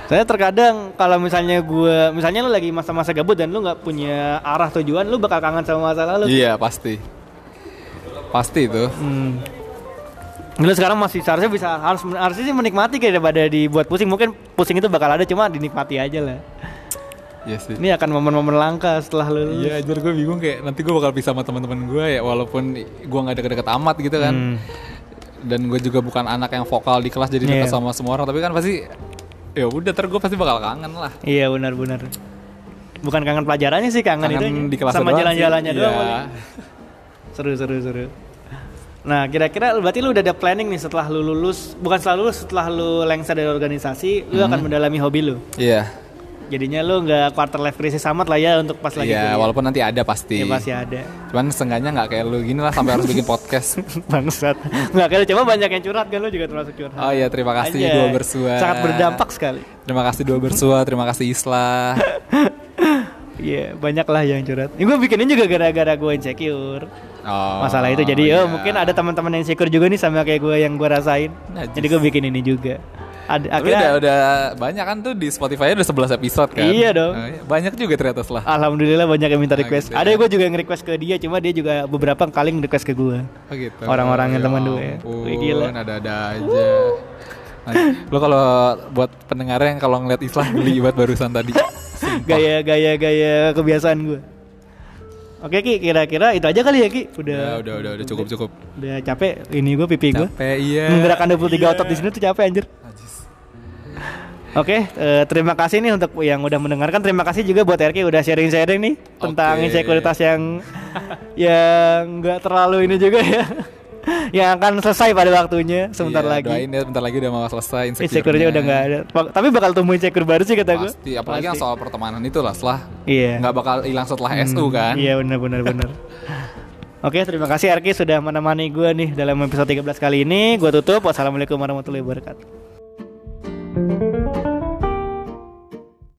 S1: Saya terkadang kalau misalnya gue, misalnya lu lagi masa-masa gabut dan lu nggak punya arah tujuan, lu bakal kangen sama masa lalu.
S2: Iya, pasti. Pasti itu.
S1: Hmm. Lu sekarang masih seharusnya bisa harus harusnya sih menikmati kayak daripada dibuat pusing. Mungkin pusing itu bakal ada cuma dinikmati aja lah.
S2: Iya sih.
S1: Ini akan momen-momen langka setelah lulus.
S2: Iya, anjir gue bingung kayak nanti gue bakal pisah sama teman-teman gue ya walaupun gue nggak deket-deket amat gitu kan. Dan gue juga bukan anak yang vokal di kelas jadi dekat
S1: Hmm. Iya.
S2: sama semua orang tapi kan pasti ya udah ter gue pasti bakal kangen lah.
S1: Iya benar-benar. Bukan kangen pelajarannya sih, kangen,
S2: Kangen
S1: itunya.
S2: di kelas
S1: sama
S2: doang sih.
S1: jalan-jalannya
S2: Iya.
S1: doang. ya? paling. Seru seru seru. Nah, kira-kira berarti lu udah ada planning nih setelah lu lulus, bukan setelah lulus, setelah lu lengser dari organisasi,
S2: Mhm.
S1: lu akan mendalami hobi lu.
S2: Iya.
S1: Jadinya lu nggak quarter life crisis amat lah ya untuk pas lagi
S2: Iya,
S1: kuliah.
S2: walaupun nanti ada pasti.
S1: Ya, pasti ada. (laughs)
S2: Cuman seenggaknya nggak kayak lu gini lah sampai harus bikin podcast.
S1: Bangsat. Nggak kalau coba banyak yang curhat kan lu juga termasuk curhat.
S2: Oh iya, terima kasih
S1: Anjay.
S2: dua bersua.
S1: Sangat berdampak sekali. (laughs)
S2: Terima kasih dua bersua, terima kasih Isla.
S1: Iya, banyak lah yang curhat. Ini gue bikinnya juga gara-gara gue insecure.
S2: Oh,
S1: (laughs) masalah itu jadi
S2: iya.
S1: oh mungkin ada teman-teman yang insecure juga nih sama kayak gue yang gue rasain
S2: Najis.
S1: jadi gue bikin ini juga Ad-
S2: Tapi
S1: akhirnya
S2: udah, udah banyak kan tuh di Spotify udah 11 episode kan.
S1: Iya dong.
S2: Oh, iya. Banyak juga ternyata setelah.
S1: alhamdulillah banyak yang minta
S2: Nah,
S1: request
S2: gitu ya.
S1: ada gue juga yang request ke dia cuma dia juga beberapa kali request ke gue
S2: Oh gitu.
S1: Orang-orang yang teman dulu ya. Wih, gila.
S2: Gila. Ada-ada aja. Nah, lo kalau buat pendengar yang kalau ngeliat Islah beli buat barusan tadi.
S1: gaya gaya gaya kebiasaan gue oke ki kira-kira itu aja kali ya ki udah
S2: Udah, udah, udah, udah cukup cukup.
S1: udah capek ini gue pipi gue
S2: Capek iya.
S1: menggerakkan 23 otot di sini tuh capek anjir
S2: Najis.
S1: Oke, eh, terima kasih nih untuk yang udah mendengarkan. Terima kasih juga buat RK udah sharing-sharing nih tentang
S2: Oke.
S1: insekuritas yang (laughs) yang nggak terlalu ini juga ya. (laughs) yang akan selesai pada waktunya sebentar
S2: Iya,
S1: lagi.
S2: Doain ya bentar lagi udah mau selesai
S1: Insecure-nya udah nggak ada. Pa- Tapi bakal tumbuh insecure baru sih kata gue.
S2: Pasti apalagi yang soal pertemanan itu lah setelah
S1: Iya.
S2: nggak bakal hilang setelah SU kan.
S1: Iya benar benar
S2: (laughs)
S1: benar. Oke, terima kasih RK sudah menemani gue nih dalam episode 13 kali ini. Gue tutup. Wassalamualaikum warahmatullahi wabarakatuh.